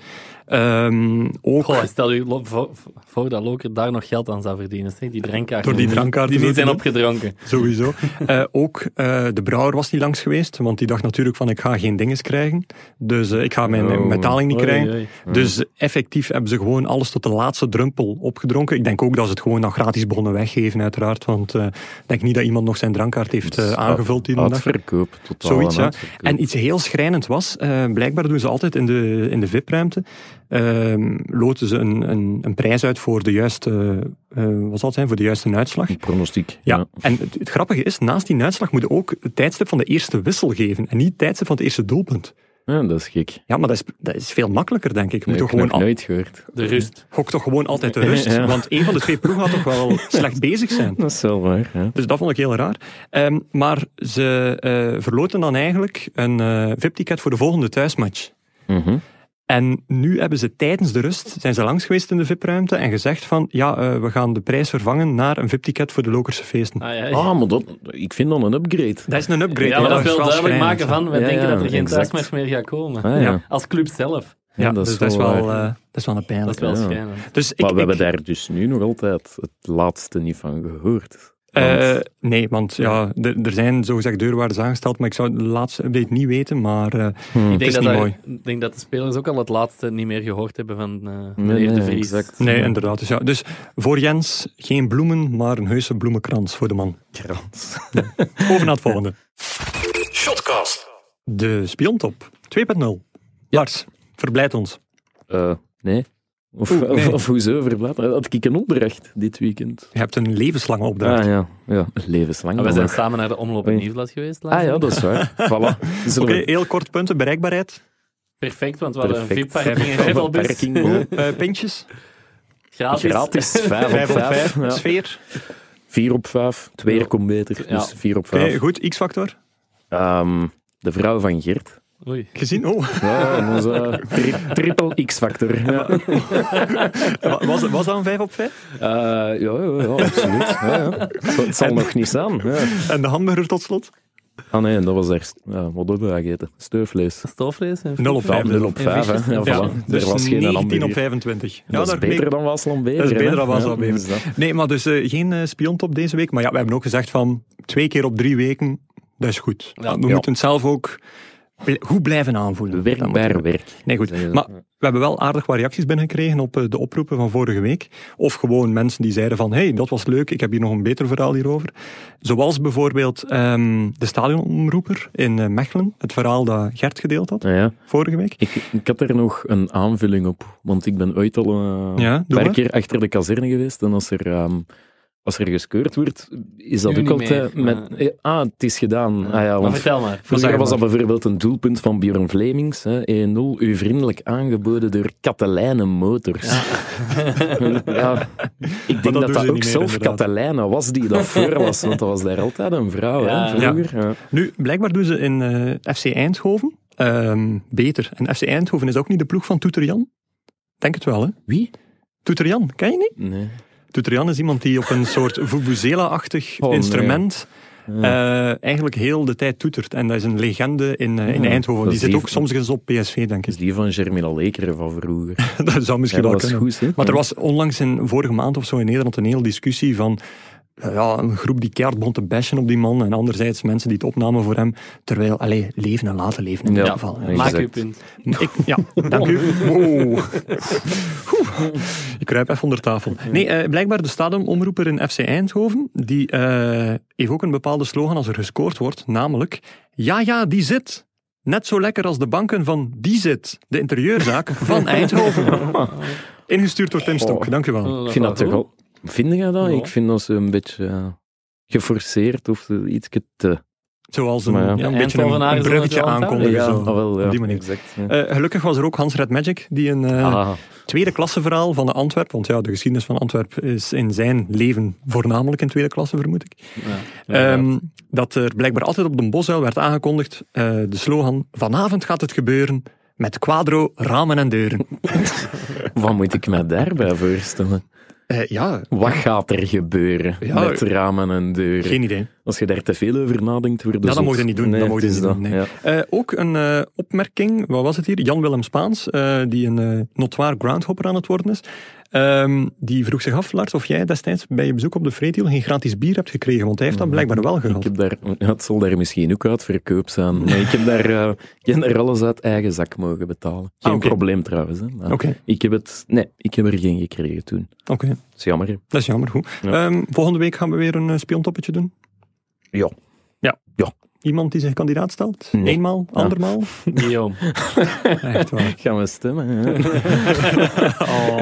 Ehm, ook
Goh, Oh, stel u lo- voor, voor dat Loker daar nog geld aan zou verdienen. Zeg, die drankkaart.
door die drankkaart.
Die
zo
niet
te
zijn
doen.
opgedronken.
Sowieso. Eh, ook eh, de brouwer was niet langs geweest, want die dacht natuurlijk van ik ga geen dinges krijgen. Dus eh, ik ga mijn eh,
Oh.
betaling niet
Oei,
krijgen.
oei.
Dus effectief hebben ze gewoon alles tot de laatste druppel opgedronken. Ik denk ook dat ze het gewoon dan gratis begonnen weggeven uiteraard, want eh, ik denk niet dat iemand nog zijn drankkaart heeft eh, aangevuld die dag.
Uitverkoop, totaal
Zoiets,
een
ja.
uitverkoop.
En iets heel schrijnend was, eh, blijkbaar doen ze altijd in de, in de VIP-ruimte, ehm, loten ze een, een, een prijs uit voor de juiste, eh, wat zal het zijn, voor de juiste uitslag.
Een pronostiek.
Ja, en het, het grappige is, naast die uitslag moet je ook het tijdstip van de eerste wissel geven en niet het tijdstip van het eerste doelpunt.
Ja, dat is gek.
Ja, maar dat is, dat is veel makkelijker, denk ik. Moet
Nee,
toch
ik
gewoon
heb nog
al,
nooit gehoord.
De rust.
gok toch gewoon altijd de rust,
Ja.
want een van de twee ploegen gaat toch wel slecht bezig zijn.
Dat is wel waar. Ja.
Dus dat vond ik heel raar. Ehm, maar ze eh, verloten dan eigenlijk een eh VIP-ticket voor de volgende thuismatch.
Mhm.
En nu hebben ze tijdens de rust, zijn ze langs geweest in de VIP-ruimte en gezegd van, ja, eh, we gaan de prijs vervangen naar een VIP-ticket voor de Lokerse feesten.
Ah, ja.
Ah, maar dat, ik vind dan een upgrade.
Dat is een upgrade.
ja, maar dat wil
is wel
duidelijk
schrijnend,
maken
hè.
van, we
Ja,
denken
ja,
dat er geen
exact.
thuismatch meer gaat komen.
Ah, ja.
Ja.
Als club zelf.
Ja, dat is, dus
waar.
wel, eh, dat is wel een pijnlijk.
Dat is wel
Ja.
schijnend.
Dus ik,
maar we
ik-
hebben daar dus nu nog altijd het laatste niet van gehoord. Want-
Eh, nee, want ja, er er zijn zogezegd deurwaarders aangesteld, maar ik zou het laatste weet niet weten, maar eh,
Ik denk,
is
dat
niet
daar-
mooi.
ik denk dat de spelers ook al het laatste niet meer gehoord hebben van eh meneer
nee,
De Vries.
exact.
nee, inderdaad. Dus, ja, dus voor Jens geen bloemen, maar een heuse bloemenkrans voor de man.
Krans.
Over naar het volgende.
Shotcast.
De spiontop 2.0. Lars, verblijd ons.
Eh, nee. Of,
Oeh,
of,
nee.
of hoezo, verbaat me. Had ik een opdracht dit weekend?
Je hebt een levenslange opdracht.
Ah ja, ja. levenslang.
Ah,
Maar we zijn
nog.
samen naar de Omloop en
Oei.
Nieuwsblad geweest. laatst.
Ah ja, dat is waar. voilà. Zullen
Oké,
we-
heel kort punten. Bereikbaarheid.
Perfect, want we hadden een
Perfect.
VIP-parking in Gevelbus.
Parking,
Hoe?
ja.
Eh, pintjes.
Gratis.
Gratis, 5 op
Vijf op
5.
vijf. Sfeer.
4 op 5, 2
Ja.
komt beter,
Ja.
dus 4 op
Oké,
5.
goed. X-factor.
de vrouw van Geert.
Oei.
Gezien. Oh,
Ja, onze tri- triple X-factor. Ja.
was, was dat een 5 op 5?
Eh, ja, ja, ja, absoluut. Ja, ja. Het zal- Het zal nog niet staan. Ja.
En de hamburger tot slot?
Ah nee, dat was echt... Ja, wat hebben we gegeten? Steufvlees.
Stoofvlees. en
Nul op
frieten.
vijf.
Ja, 0 op 5, hè. Ja,
Ja,
voilà.
dus
er was geen
19 op
hamburger.
25. Ja,
dat is
daar-
beter
nee,
dan Wasland Bever.
Dat is beter
hè.
dan Waasland
Ja,
Bever.
dus dat.
Nee, maar dus eh, geen eh, spiontop deze week. Maar ja, we hebben ook gezegd van twee keer op drie weken, dat is goed.
Ja.
we
Ja.
moeten het zelf ook bl- goed blijven aanvoelen. Dat moet
Werkbaar
je-
werk.
Nee, goed.
Zeggen ze.
Maar we hebben wel aardig wat reacties binnengekregen op eh, de oproepen van vorige week. Of gewoon mensen die zeiden van, hey, dat was leuk, ik heb hier nog een beter verhaal hierover. Zoals bijvoorbeeld ehm, de stadionomroeper in eh, Mechelen. Het verhaal dat Gert gedeeld had
Ja, ja.
vorige week.
Ik, ik had er nog een aanvulling op, want ik ben ooit al eh,
Ja,
een
doe
paar
maar.
keer achter de kazerne geweest. En als er, ehm, als er geskeurd wordt, is dat
Nu
ook
niet
altijd
meer,
met... eh, Ah, het is gedaan. Ah, ja,
Maar
want
vertel maar.
vroeger
zeg
was dat
maar.
bijvoorbeeld een doelpunt van Björn Vlemings. hè, 1-0, u vriendelijk aangeboden door Katelijne Motors. Ja,
dat
ik denk dat
doen
dat
ze
ook
niet meer,
zelf
inderdaad.
Catalina was die dat voor was, want dat was daar altijd een vrouw,
Ja.
hè, vroeger. Ja.
Nu, blijkbaar doen ze in eh, FC Eindhoven ehm, beter. En FC Eindhoven is ook niet de ploeg van Toeter Jan. Denk het wel, hè?
Wie?
Toeter Jan, ken je niet?
Nee.
Toeter Jan is iemand die op een soort vuvuzela-achtig
Oh, nee.
instrument eh, eigenlijk heel de tijd toetert. En dat is een legende in, eh, in
Ja,
Eindhoven. Die
dat is
zit
die-
ook soms eens op PSV, denk ik.
Is die van Germina Lekeren van vroeger.
dat zou
Ja,
misschien
dat
wel
was
kunnen.
goed, hè?
Maar er was onlangs in vorige maand of zo in Nederland een hele discussie van eh, ja, een groep die keihard begon te bashen op die man en anderzijds mensen die het opnamen voor hem, terwijl, allee, leven en laten leven in
Ja.
ieder geval.
Ja.
Maak
Exact.
uw punt.
Ik, ja, dank u. Wow. Oeh, Ik kruip even onder tafel. Nee, eh, blijkbaar de stadionomroeper in FC Eindhoven, die eh, heeft ook een bepaalde slogan als er gescoord wordt, namelijk Ja, ja, die zit. Net zo lekker als de banken van die zit, de interieurzaak van Eindhoven. Ingestuurd door Tim
Oh.
Stok, dank u wel.
Ik vind dat toch wel... Vind je dat?
Ja.
Ik vind dat ze een beetje eh, geforceerd of eh, iets te...
Zoals een,
Maar ja.
ja, een beetje een,
Eindhovenaren
een bruggetje
zijn het wel aan
aankondigen.
ja,
zo.
ah, wel, ja.
op die manier.
Exact, ja.
Eh, gelukkig was er ook Hans Red Magic, die een eh,
Ah,
tweede klasse verhaal van de Antwerp. Want ja, de geschiedenis van Antwerp is in zijn leven voornamelijk in tweede klasse, vermoed ik. Ehm, dat er blijkbaar altijd op de bosuil werd aangekondigd eh, de slogan vanavond gaat het gebeuren met quadro, ramen en deuren.
wat moet ik me daarbij voorstellen?
Eh, ja,
Wat gaat er gebeuren
Ja.
met ramen en deuren?
geen idee.
Als je daar te veel over nadenkt, wordt
Ja, dat mogen we niet doen, dat mogen we
Dus het is
niet doen, nee.
ja.
Eh, ook een eh, opmerking, wat was het hier? Jan-Willem Spaans, eh, die een eh notoire groundhopper aan het worden is. Ehm, die vroeg zich af, Lars, of jij destijds bij je bezoek op de Vreedhiel geen gratis bier hebt gekregen, want hij heeft dat
Mm-hmm.
blijkbaar wel
Ik
gehad.
heb daar, ja, het zal daar misschien ook uit verkoop zijn. Maar ik heb daar, eh, ik heb daar alles uit eigen zak mogen betalen. Geen
Ah, oké.
probleem trouwens. Hè, maar
Oké,
ik, heb het, nee, ik heb er geen gekregen toen.
oké.
Dat is jammer. hè.
Dat is jammer, goed.
Ja.
Ehm, volgende week gaan we weer een eh, spiontoppetje doen.
Ja.
Iemand die zich kandidaat stelt?
Nee.
Eenmaal? Andermaal?
Guillaume.
Echt waar.
Gaan we stemmen? Hè?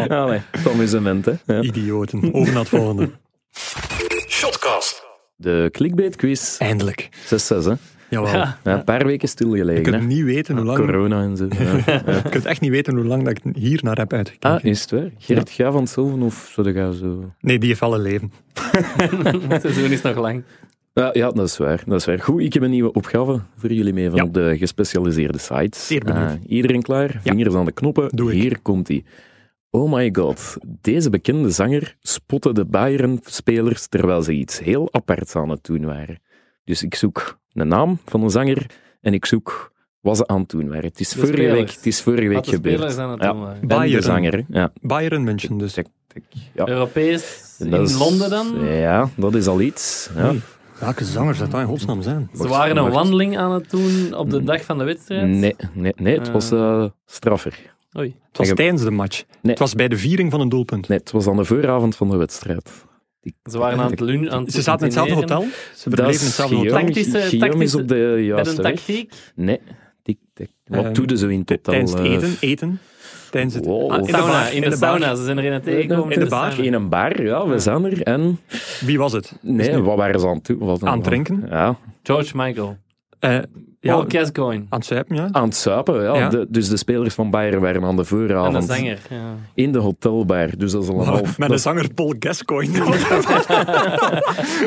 Ja, nee. Het amusement, hè? Ja.
Idioten. Over naar het volgende.
Shotcast.
De clickbait quiz 6-6,
Eindelijk.
hè?
Jawel.
Ja.
Ja, een paar weken
Je
stilgelegen.
kunt
Hè?
niet weten hoe lang...
Corona en zo. Ja.
Je kunt echt niet weten hoe lang dat ik hier naar heb uitgekeken.
Ah, is het waar? Gerrit ja. Gavanselven of zo? dat gaat zo...
Nee, die heeft al een leven.
Het seizoen is nog lang.
Ja, ja, dat is waar. Dat is waar. Goed, ik heb een nieuwe opgave voor jullie mee van
Ja.
op de gespecialiseerde sites.
Zeer benieuwd.
Eh, iedereen klaar? Vingers aan de knoppen.
Doe ik.
Hier komt hij. Oh my god, deze bekende zanger spotte de Bayern-spelers terwijl ze iets heel aparts aan het doen waren. Dus ik zoek een naam van een zanger en ik zoek wat ze aan het doen waren. Het is
De
vorige
spelers.
week, het is vorige week
Wat de
gebeurd.
spelers aan het
Ja.
doen waren.
En de
Bayern.
zanger. hè. Ja.
Bayern München dus.
Tik, tik. Ja.
Europees.
En
in
dat is-
Londen dan.
Ja, dat is al iets. Ja.
Oei. Welke zangers dat dan in godsnaam zijn?
Ze waren een wandeling aan het doen op de dag van de wedstrijd.
Mm. Nee, nee, nee, het was eh, straffer.
Oei.
Het was
Ik heb-
tijdens de match.
Nee.
Het was bij de viering van een doelpunt.
Nee, het was aan de vooravond van de wedstrijd.
Ze waren aan het lunchen. aan het
Ze zaten in hetzelfde
dineren.
hotel. Ze verbleven in hetzelfde
Guillaume.
hotel.
Tactische-
Guillaume is
tactische-
op de
Met een
juiste weg.
tactiek.
Nee. Tik, tik. Wat
Ehm,
doe je zo in totaal?
Tijdens het
eh,
eten, eten. Tijdens het...
Wow.
Ah, in de
Sauna,
bar,
in de,
bar.
sauna. Ze zijn er een
nou,
tegengekomen.
In de bar?
sauna.
In een bar, ja, we zijn er. En
Wie was het?
nee, wat waren ze aan het doen? Wat dan-
Aan het drinken?
Ja,
George Michael.
Eh, ja,
Paul Gascoigne.
aan het zuipen, ja.
aan het suipen, ja.
Ja.
De- dus de spelers van Bayern waren aan de
En de
vooravond
zanger. Ja.
in de hotelbar. Dus dat is al een half,
Met
dat
de
is-
zanger Paul Gascoigne.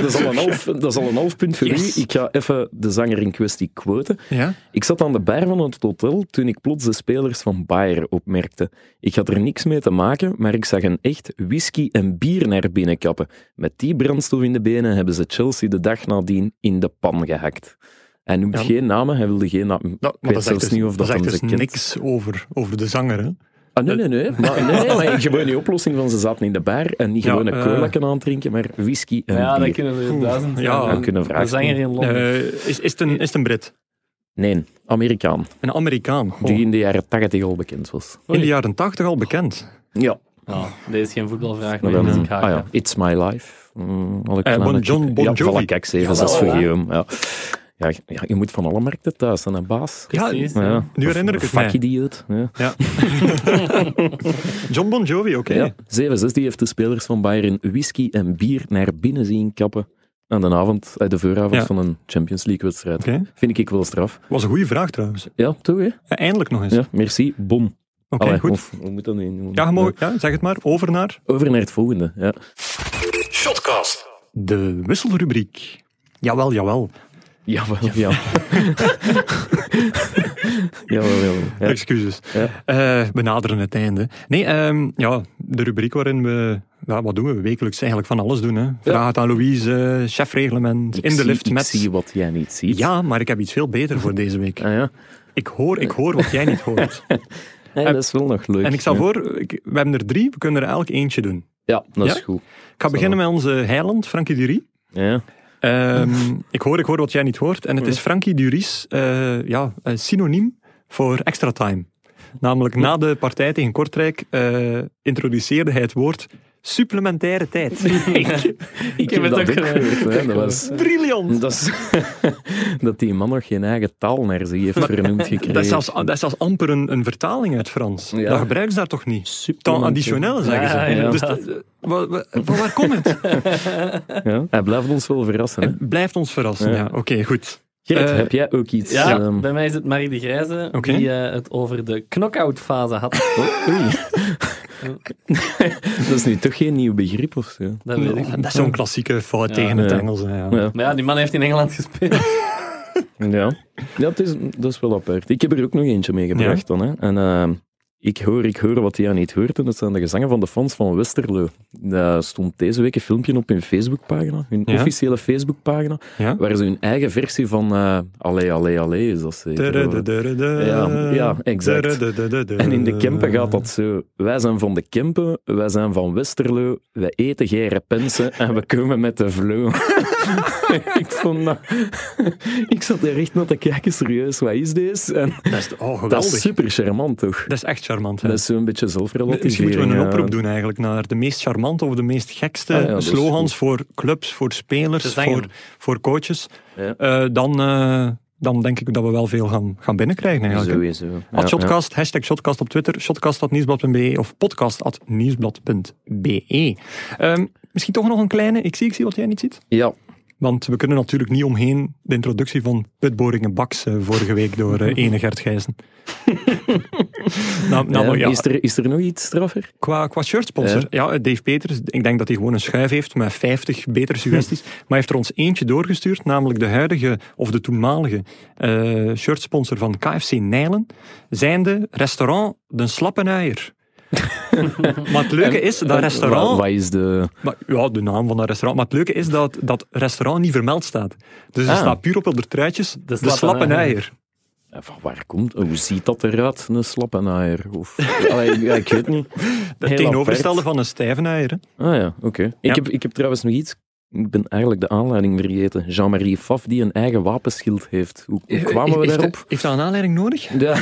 dat is al een half, dat is al een half punt voor
Yes.
u. Ik ga even de zanger in kwestie quoten.
ja?
Ik zat aan de bar van het hotel toen ik plots de spelers van Bayern opmerkte. Ik had er niks mee te maken, maar ik zag een echt whisky en bier naar binnen kappen. Met die brandstof in de benen hebben ze Chelsea de dag nadien in de pan gehakt. Hij noemt
Ja.
geen namen, hij wilde geen namen.
Dat,
weet
maar dat
zelfs
zegt dus,
niet of
dat
dat
zegt
hem
dus
ze kent.
niks over, over de zanger. Hè?
Ah, nee, nee, nee. Maar, nee, nee, maar een gewone oplossing van ze zaten in de bar en niet
Ja,
gewone
eh,
cola kunnen aandrinken, maar whisky en
ja, dat
bier.
kunnen er duizend
ja,
zijn.
dat
kunnen
Een
vragen.
zanger in Londen.
Eh, is, is, het een, is het een Brit?
Nee, Amerikaan.
Een Amerikaan? Goh.
Die in de jaren 80 al bekend was.
In de jaren tachtig al bekend.
Ja.
Oh, deze is geen voetbalvraag
Maar
meer,
dan-
dus ik haak
ah ja,
af.
It's My Life. Mm, alle
Eh,
kleine
Bon John-
chick-
Bon
ja,
Jovi.
voilà, kijk, zeven, zes voor Guillaume. Ja. Ja, je- ja, je moet van alle markten thuis zijn, hè, baas.
Ja,
Precies.
Ja.
nu herinner ik het
Fuck
mij.
idioot. Ja.
Ja. John Bon Jovi, oké.
Ja. 7-6, die heeft de spelers van Bayern whisky en bier naar binnen zien kappen aan de avond, eh, de vooravond
Ja.
van een Champions League-wedstrijd.
Oké.
Vind ik wel straf.
Was een goede vraag trouwens. Eh,
Ja, toch, hè?
Eindelijk nog eens.
Ja, merci. Bom.
Dus- Oké,
Allee,
goed.
of- hoe moet dat nu noemen?
Ja, je mag- ja, zeg het maar. Over naar
Over naar het volgende. Ja.
Shotcast.
de wisselrubriek. Jawel, jawel.
Jawel, ja. jawel, jawel. Ja.
Excuses.
Ja.
Eh, benaderen het einde. Nee, ehm, ja, de rubriek waarin we... ja, wat doen we? Wekelijks eigenlijk van alles doen. Hè. Vraag het aan Louise, eh, chefreglement,
Ik
in de
zie-
lift
ik
met...
zie wat jij niet ziet.
Ja, maar ik heb iets veel beter voor deze week.
Ah, ja.
Ik hoor, ik hoor wat jij niet hoort.
Nee, dat is wel nog leuk.
En ik stel
Ja.
voor, ik- we hebben er drie, we kunnen er elk eentje doen.
Ja, dat is
Ja?
goed.
Ik ga beginnen met onze heiland, Frankie Durie.
Ja.
Ehm, ik hoor, ik hoor wat jij niet hoort. En het is Frankie Durie's eh, ja, eh, synoniem voor extra time. Namelijk na de partij tegen Kortrijk eh, introduceerde hij het woord supplementaire tijd.
Ik
heb het
eh,
ook gehoord.
hè. Dat, was,
Briljant!
dat, is, dat die man nog geen eigen taal naar zich heeft vernoemd gekregen.
Dat is zelfs, dat is zelfs amper een, een vertaling uit Frans.
Ja.
Dat gebruiken ze daar toch niet? Temps additionnel, zeggen ze.
Ja, ja,
Dus,
inderdaad.
eh, wa- wa- van waar komt het?
Ja, Hij blijft ons wel verrassen. Hè?
Blijft ons verrassen. Ja. Oké, goed.
Gerrit,
Eh,
heb jij ook iets?
Ja,
ehm,
bij mij is het Marie de Grijze
Oké.
die eh, het over de knock-out fase had.
oh, Oei. dat is nu toch geen nieuw begrip of zo.
Dat weet ik.
Dat is zo'n klassieke fout tegen het
ja.
Engels. hè, ja.
Ja.
Maar ja, die man heeft in Engeland gespeeld.
Ja, ja het is, dat is wel apart. Ik heb er ook nog eentje meegebracht dan. Hè. En ehm, ik hoor, ik hoor wat jij niet hoort. En dat zijn de gezangen van de fans van Westerlo. Daar stond deze week een filmpje op hun Facebookpagina. Hun
Ja.
officiële Facebookpagina.
Ja.
Waar ze hun eigen versie van eh Allee, Allee, Allee is dat zeker. Ja, ja, exact. En in de Kempen gaat dat zo. Wij zijn van de Kempen, wij zijn van Westerlo, wij eten geen repensen en we komen met de vleuel. ik vond dat... ik zat er echt naar te kijken, serieus, wat is deze? En
Dat is, oh, geweldig.
dat is super charmant, toch?
echt charmant. hè.
Dat is zo'n beetje
Misschien
zelfrelativering.
moeten we een oproep
eh.
doen eigenlijk naar de meest charmante of de meest gekste
Ah ja, dat is
slogans voor clubs, voor spelers,
Te zingen.
voor, voor coaches.
Ja.
Eh, dan, eh, dan denk ik dat we wel veel gaan, gaan binnenkrijgen eigenlijk. hè.
Sowieso. Ja,
At
ja.
Shotcast, hashtag Shotcast op Twitter, shotcast.nieuwsblad.be of podcast.nieuwsblad.be. Ehm misschien toch nog een kleine, ik zie, ik zie wat jij niet ziet.
Ja,
Want we kunnen natuurlijk niet omheen de introductie van Pitboringen Baks eh, vorige week door eh, ene Gert Gijzen. nou, nou,
Eh,
ja,
Is, er, is er nog iets straffer?
qua, qua shirtsponsor, ja, eh, Dave Peters, ik denk dat hij gewoon een schuif heeft met 50 betere suggesties. maar hij heeft er ons eentje doorgestuurd, namelijk de huidige of de toenmalige eh, shirtsponsor van KFC Nijlen, zijnde restaurant De Slappenuier. maar het leuke is, dat
Wa-
restaurant...
Wat is de...
Maar, ja, de naam van dat restaurant. Maar het leuke is dat dat restaurant niet vermeld staat. Dus
Ah.
het staat puur op de truitjes. De,
slappe
slappe
eier.
eier.
eh, van waar komt, hoe ziet dat eruit, een slappenaaier? Of, Allee, ja, ik weet niet.
Het tegenovergestelde van een stijvenaaier. hè.
Ah ja, oké.
Ja.
Ik, heb, ik heb trouwens nog iets. Ik ben eigenlijk de aanleiding vergeten. Jean-Marie Faf die een eigen wapenschild Eh, heeft. Hoe, hoe kwamen we
Heeft-
daarop?
Heeft dat een aanleiding nodig?
Ja.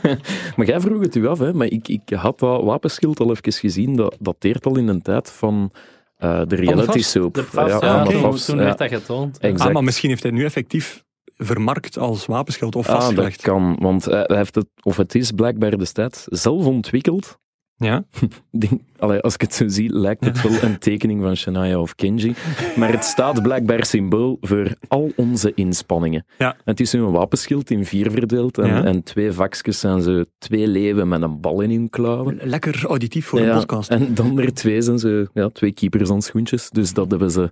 maar jij vroeg het u af, hè? maar ik, ik had dat wapenschild al even gezien. Dat dateert al in een tijd van eh, de reality
Fafs?
soap.
De Fafs, ja,
ja,
van de
oké.
toen,
Fafs,
toen
ja.
werd dat getoond.
Exact.
Ah, maar misschien heeft hij het nu effectief vermarkt als wapenschild of
Ah, dat
vastgelegd.
kan, want hij hij heeft het, of het is blijkbaar destijds zelf ontwikkeld.
ja?
Ik Denk, allee, als ik het zo zie, lijkt het wel een tekening van Shania of Kenji. Maar het staat blijkbaar symbool voor al onze inspanningen.
Ja.
Het is nu een wapenschild in vier verdeeld en,
Ja.
en twee vakjes zijn ze twee leeuwen met een bal in hun klauwen.
Lekker auditief voor
Ja,
een podcast.
En dan er twee zijn ze, ja, twee keepers aan schoentjes. Dus dat hebben ze.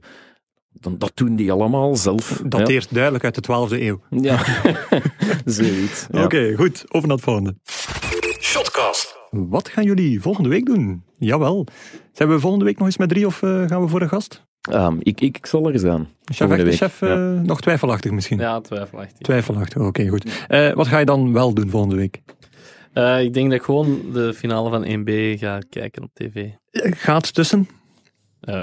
Dan, dat doen die allemaal zelf.
Dateert duidelijk uit de 12e eeuw.
Ja, ja. zoiets. Ja.
Oké, goed. Over naar het volgende.
Shotcast.
Wat gaan jullie volgende week doen? Jawel. Zijn we volgende week nog eens met drie of eh, gaan we voor een gast?
Ehm, ik, ik zal er zijn.
Chef,
Volgende
echte
week,
chef, eh,
ja.
nog twijfelachtig misschien.
Ja, twijfelachtig.
Twijfelachtig, oké, goed. Eh, wat ga je dan wel doen volgende week?
Eh, ik denk dat ik gewoon de finale van 1B ga kijken op tv.
Eh, Gaat tussen.
Eh,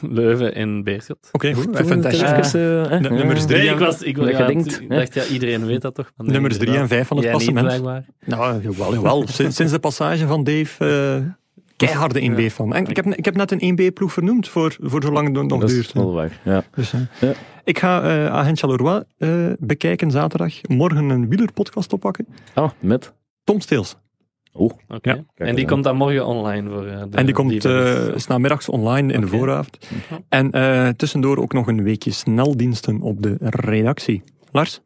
Leuven en Beerschot.
Oké, goed.
Doen we
Even een
het
testje.
testje.
even, eh, hè?
Nu- nummers
Ja.
drie.
Nee, ik, was, ik,
Dat je
ja,
denkt,
het- ik
hè?
dacht, ja, iedereen weet dat toch? Maar nee,
Eh, Nummers 3 en
inderdaad.
5 van het
Jij niet,
passement.
blijkbaar.
Nou, jawel, jawel. Sinds, sinds de passage van Dave, eh, keiharde 1B van. En ik heb, ik heb net een 1B-ploeg vernoemd voor, voor zolang het nog
Dat
duurt.
is wel waar. Ja.
Dus, eh,
Ja.
Ik ga eh Agent Charleroi eh, bekijken zaterdag. Morgen een wielerpodcast oppakken.
Ah, met.
Tom Steels.
Oh,
Oké.
Ja.
En die
aan.
komt dan morgen online voor eh, de
en die komt
liefhebbers.
eh, 's namiddags online in de
Oké.
vooravond. En eh, tussendoor ook nog een weekje sneldiensten op de redactie. Lars,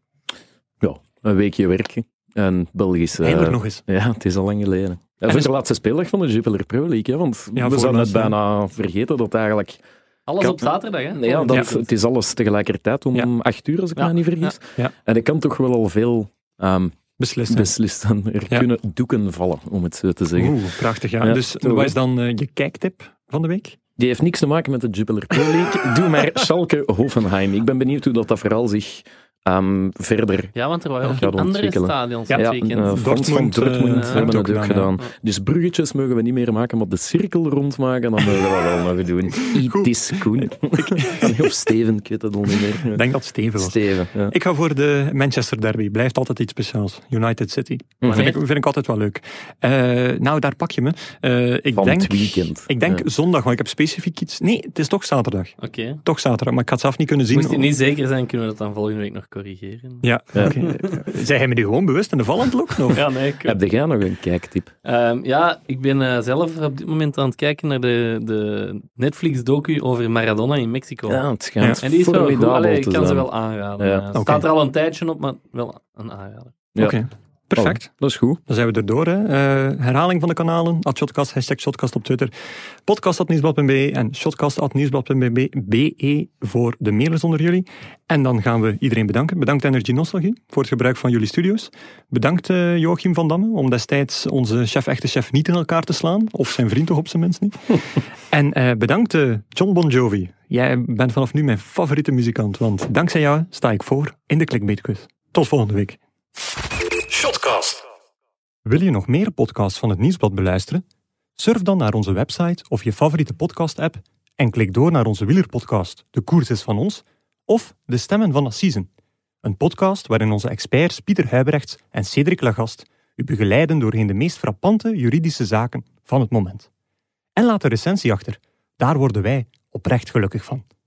ja, een weekje werken. En Belgisch. eh,
eindelijk nog eens.
Ja, het is al lang geleden. En voor
dus-
de laatste speeldag van de Jupiler Pro League, hè, want
Ja,
we
voor
zijn het
mensen.
bijna vergeten dat eigenlijk
Alles
kan-
op zaterdag, hè?
Ja, dat,
Ja.
het is alles tegelijkertijd om
Ja.
acht uur, als ik
Ja.
me niet vergis.
Ja.
En ik kan toch wel al veel ehm
Beslissen.
beslissen. Er
Ja.
kunnen doeken vallen, om het zo te zeggen.
Oeh, prachtig. Ja.
Ja,
dus
toch,
wat
hè?
is dan eh, je kijktip van de week?
Die heeft niks te maken met de Jupiler Pro League. Doe maar Schalke Hoffenheim. Ik ben benieuwd hoe dat, dat verhaal zich ehm, verder...
Ja, want er waren ook
Ja,
in
dat
andere
ontwikkelen.
stadions
Ja.
dit
Ja,
weekend.
eh, fans van
Dortmund, eh,
Dortmund
ja.
hebben
ook
het ook
gedaan,
gedaan.
ja.
Dus bruggetjes mogen we niet meer maken, maar de cirkel rondmaken, dan mogen we dat wel nog doen.
Goed.
It is Koen. of Steven, ik weet het al niet meer.
Ik denk dat het Steven was.
Steven, ja.
Ik ga voor de Manchester Derby. Blijft altijd iets speciaals. United City.
Mhm.
Vind, ik, vind ik altijd wel leuk. Eh, nou, daar pak je me. Eh, ik
Van
denk,
het weekend.
Ik denk
Ja.
zondag, maar ik heb specifiek iets. Nee, het is toch zaterdag.
Oké.
Toch zaterdag, maar ik ga het zelf niet kunnen zien.
Moest je niet zeker zijn, kunnen we dat dan volgende week nog corrigeren.
Ja,
Ja.
oké. Zijn jij me nu gewoon bewust in de val aan het lokken? of?
Ja, nee, ik-
Heb jij nog een kijktip?
Ehm, ja, ik ben eh, zelf op dit moment aan het kijken naar de, de Netflix-docu over Maradona in Mexico.
Ja, het schijnt
Ja.
En die is wel goed.
formidabel
Allee, ik
te
kan ze
zijn.
wel aanraden.
Ja.
Eh,
Oké.
Staat er al een tijdje op, maar wel een aanrader.
Ja.
Oké, perfect.
Oh, dat is goed.
Dan zijn we erdoor. Hè. Eh, herhaling van de kanalen. At Shotcast, hashtag Shotcast op Twitter. Podcast.nieuwsblad.be e en shotcast.nieuwsblad.be e, voor de mailers onder jullie. En dan gaan we iedereen bedanken. Bedankt Energy Nostalgie voor het gebruik van jullie studio's. Bedankt eh, Joachim van Damme om destijds onze chef, echte chef, niet in elkaar te slaan. Of zijn vriend toch op zijn minst niet. en eh, bedankt eh, John Bon Jovi. Jij bent vanaf nu mijn favoriete muzikant. Want dankzij jou sta ik voor in de Clickbait-quiz. Tot volgende week.
Shotcast.
Wil je nog meer podcasts van het Nieuwsblad beluisteren? Surf dan naar onze website of je favoriete podcast-app en klik door naar onze wielerpodcast De Koers is van ons of De Stemmen van Assisen. Een podcast waarin onze experts Pieter Huibrechts en Cedric Lagast u begeleiden doorheen de meest frappante juridische zaken van het moment. En laat een recensie achter. Daar worden wij oprecht gelukkig van.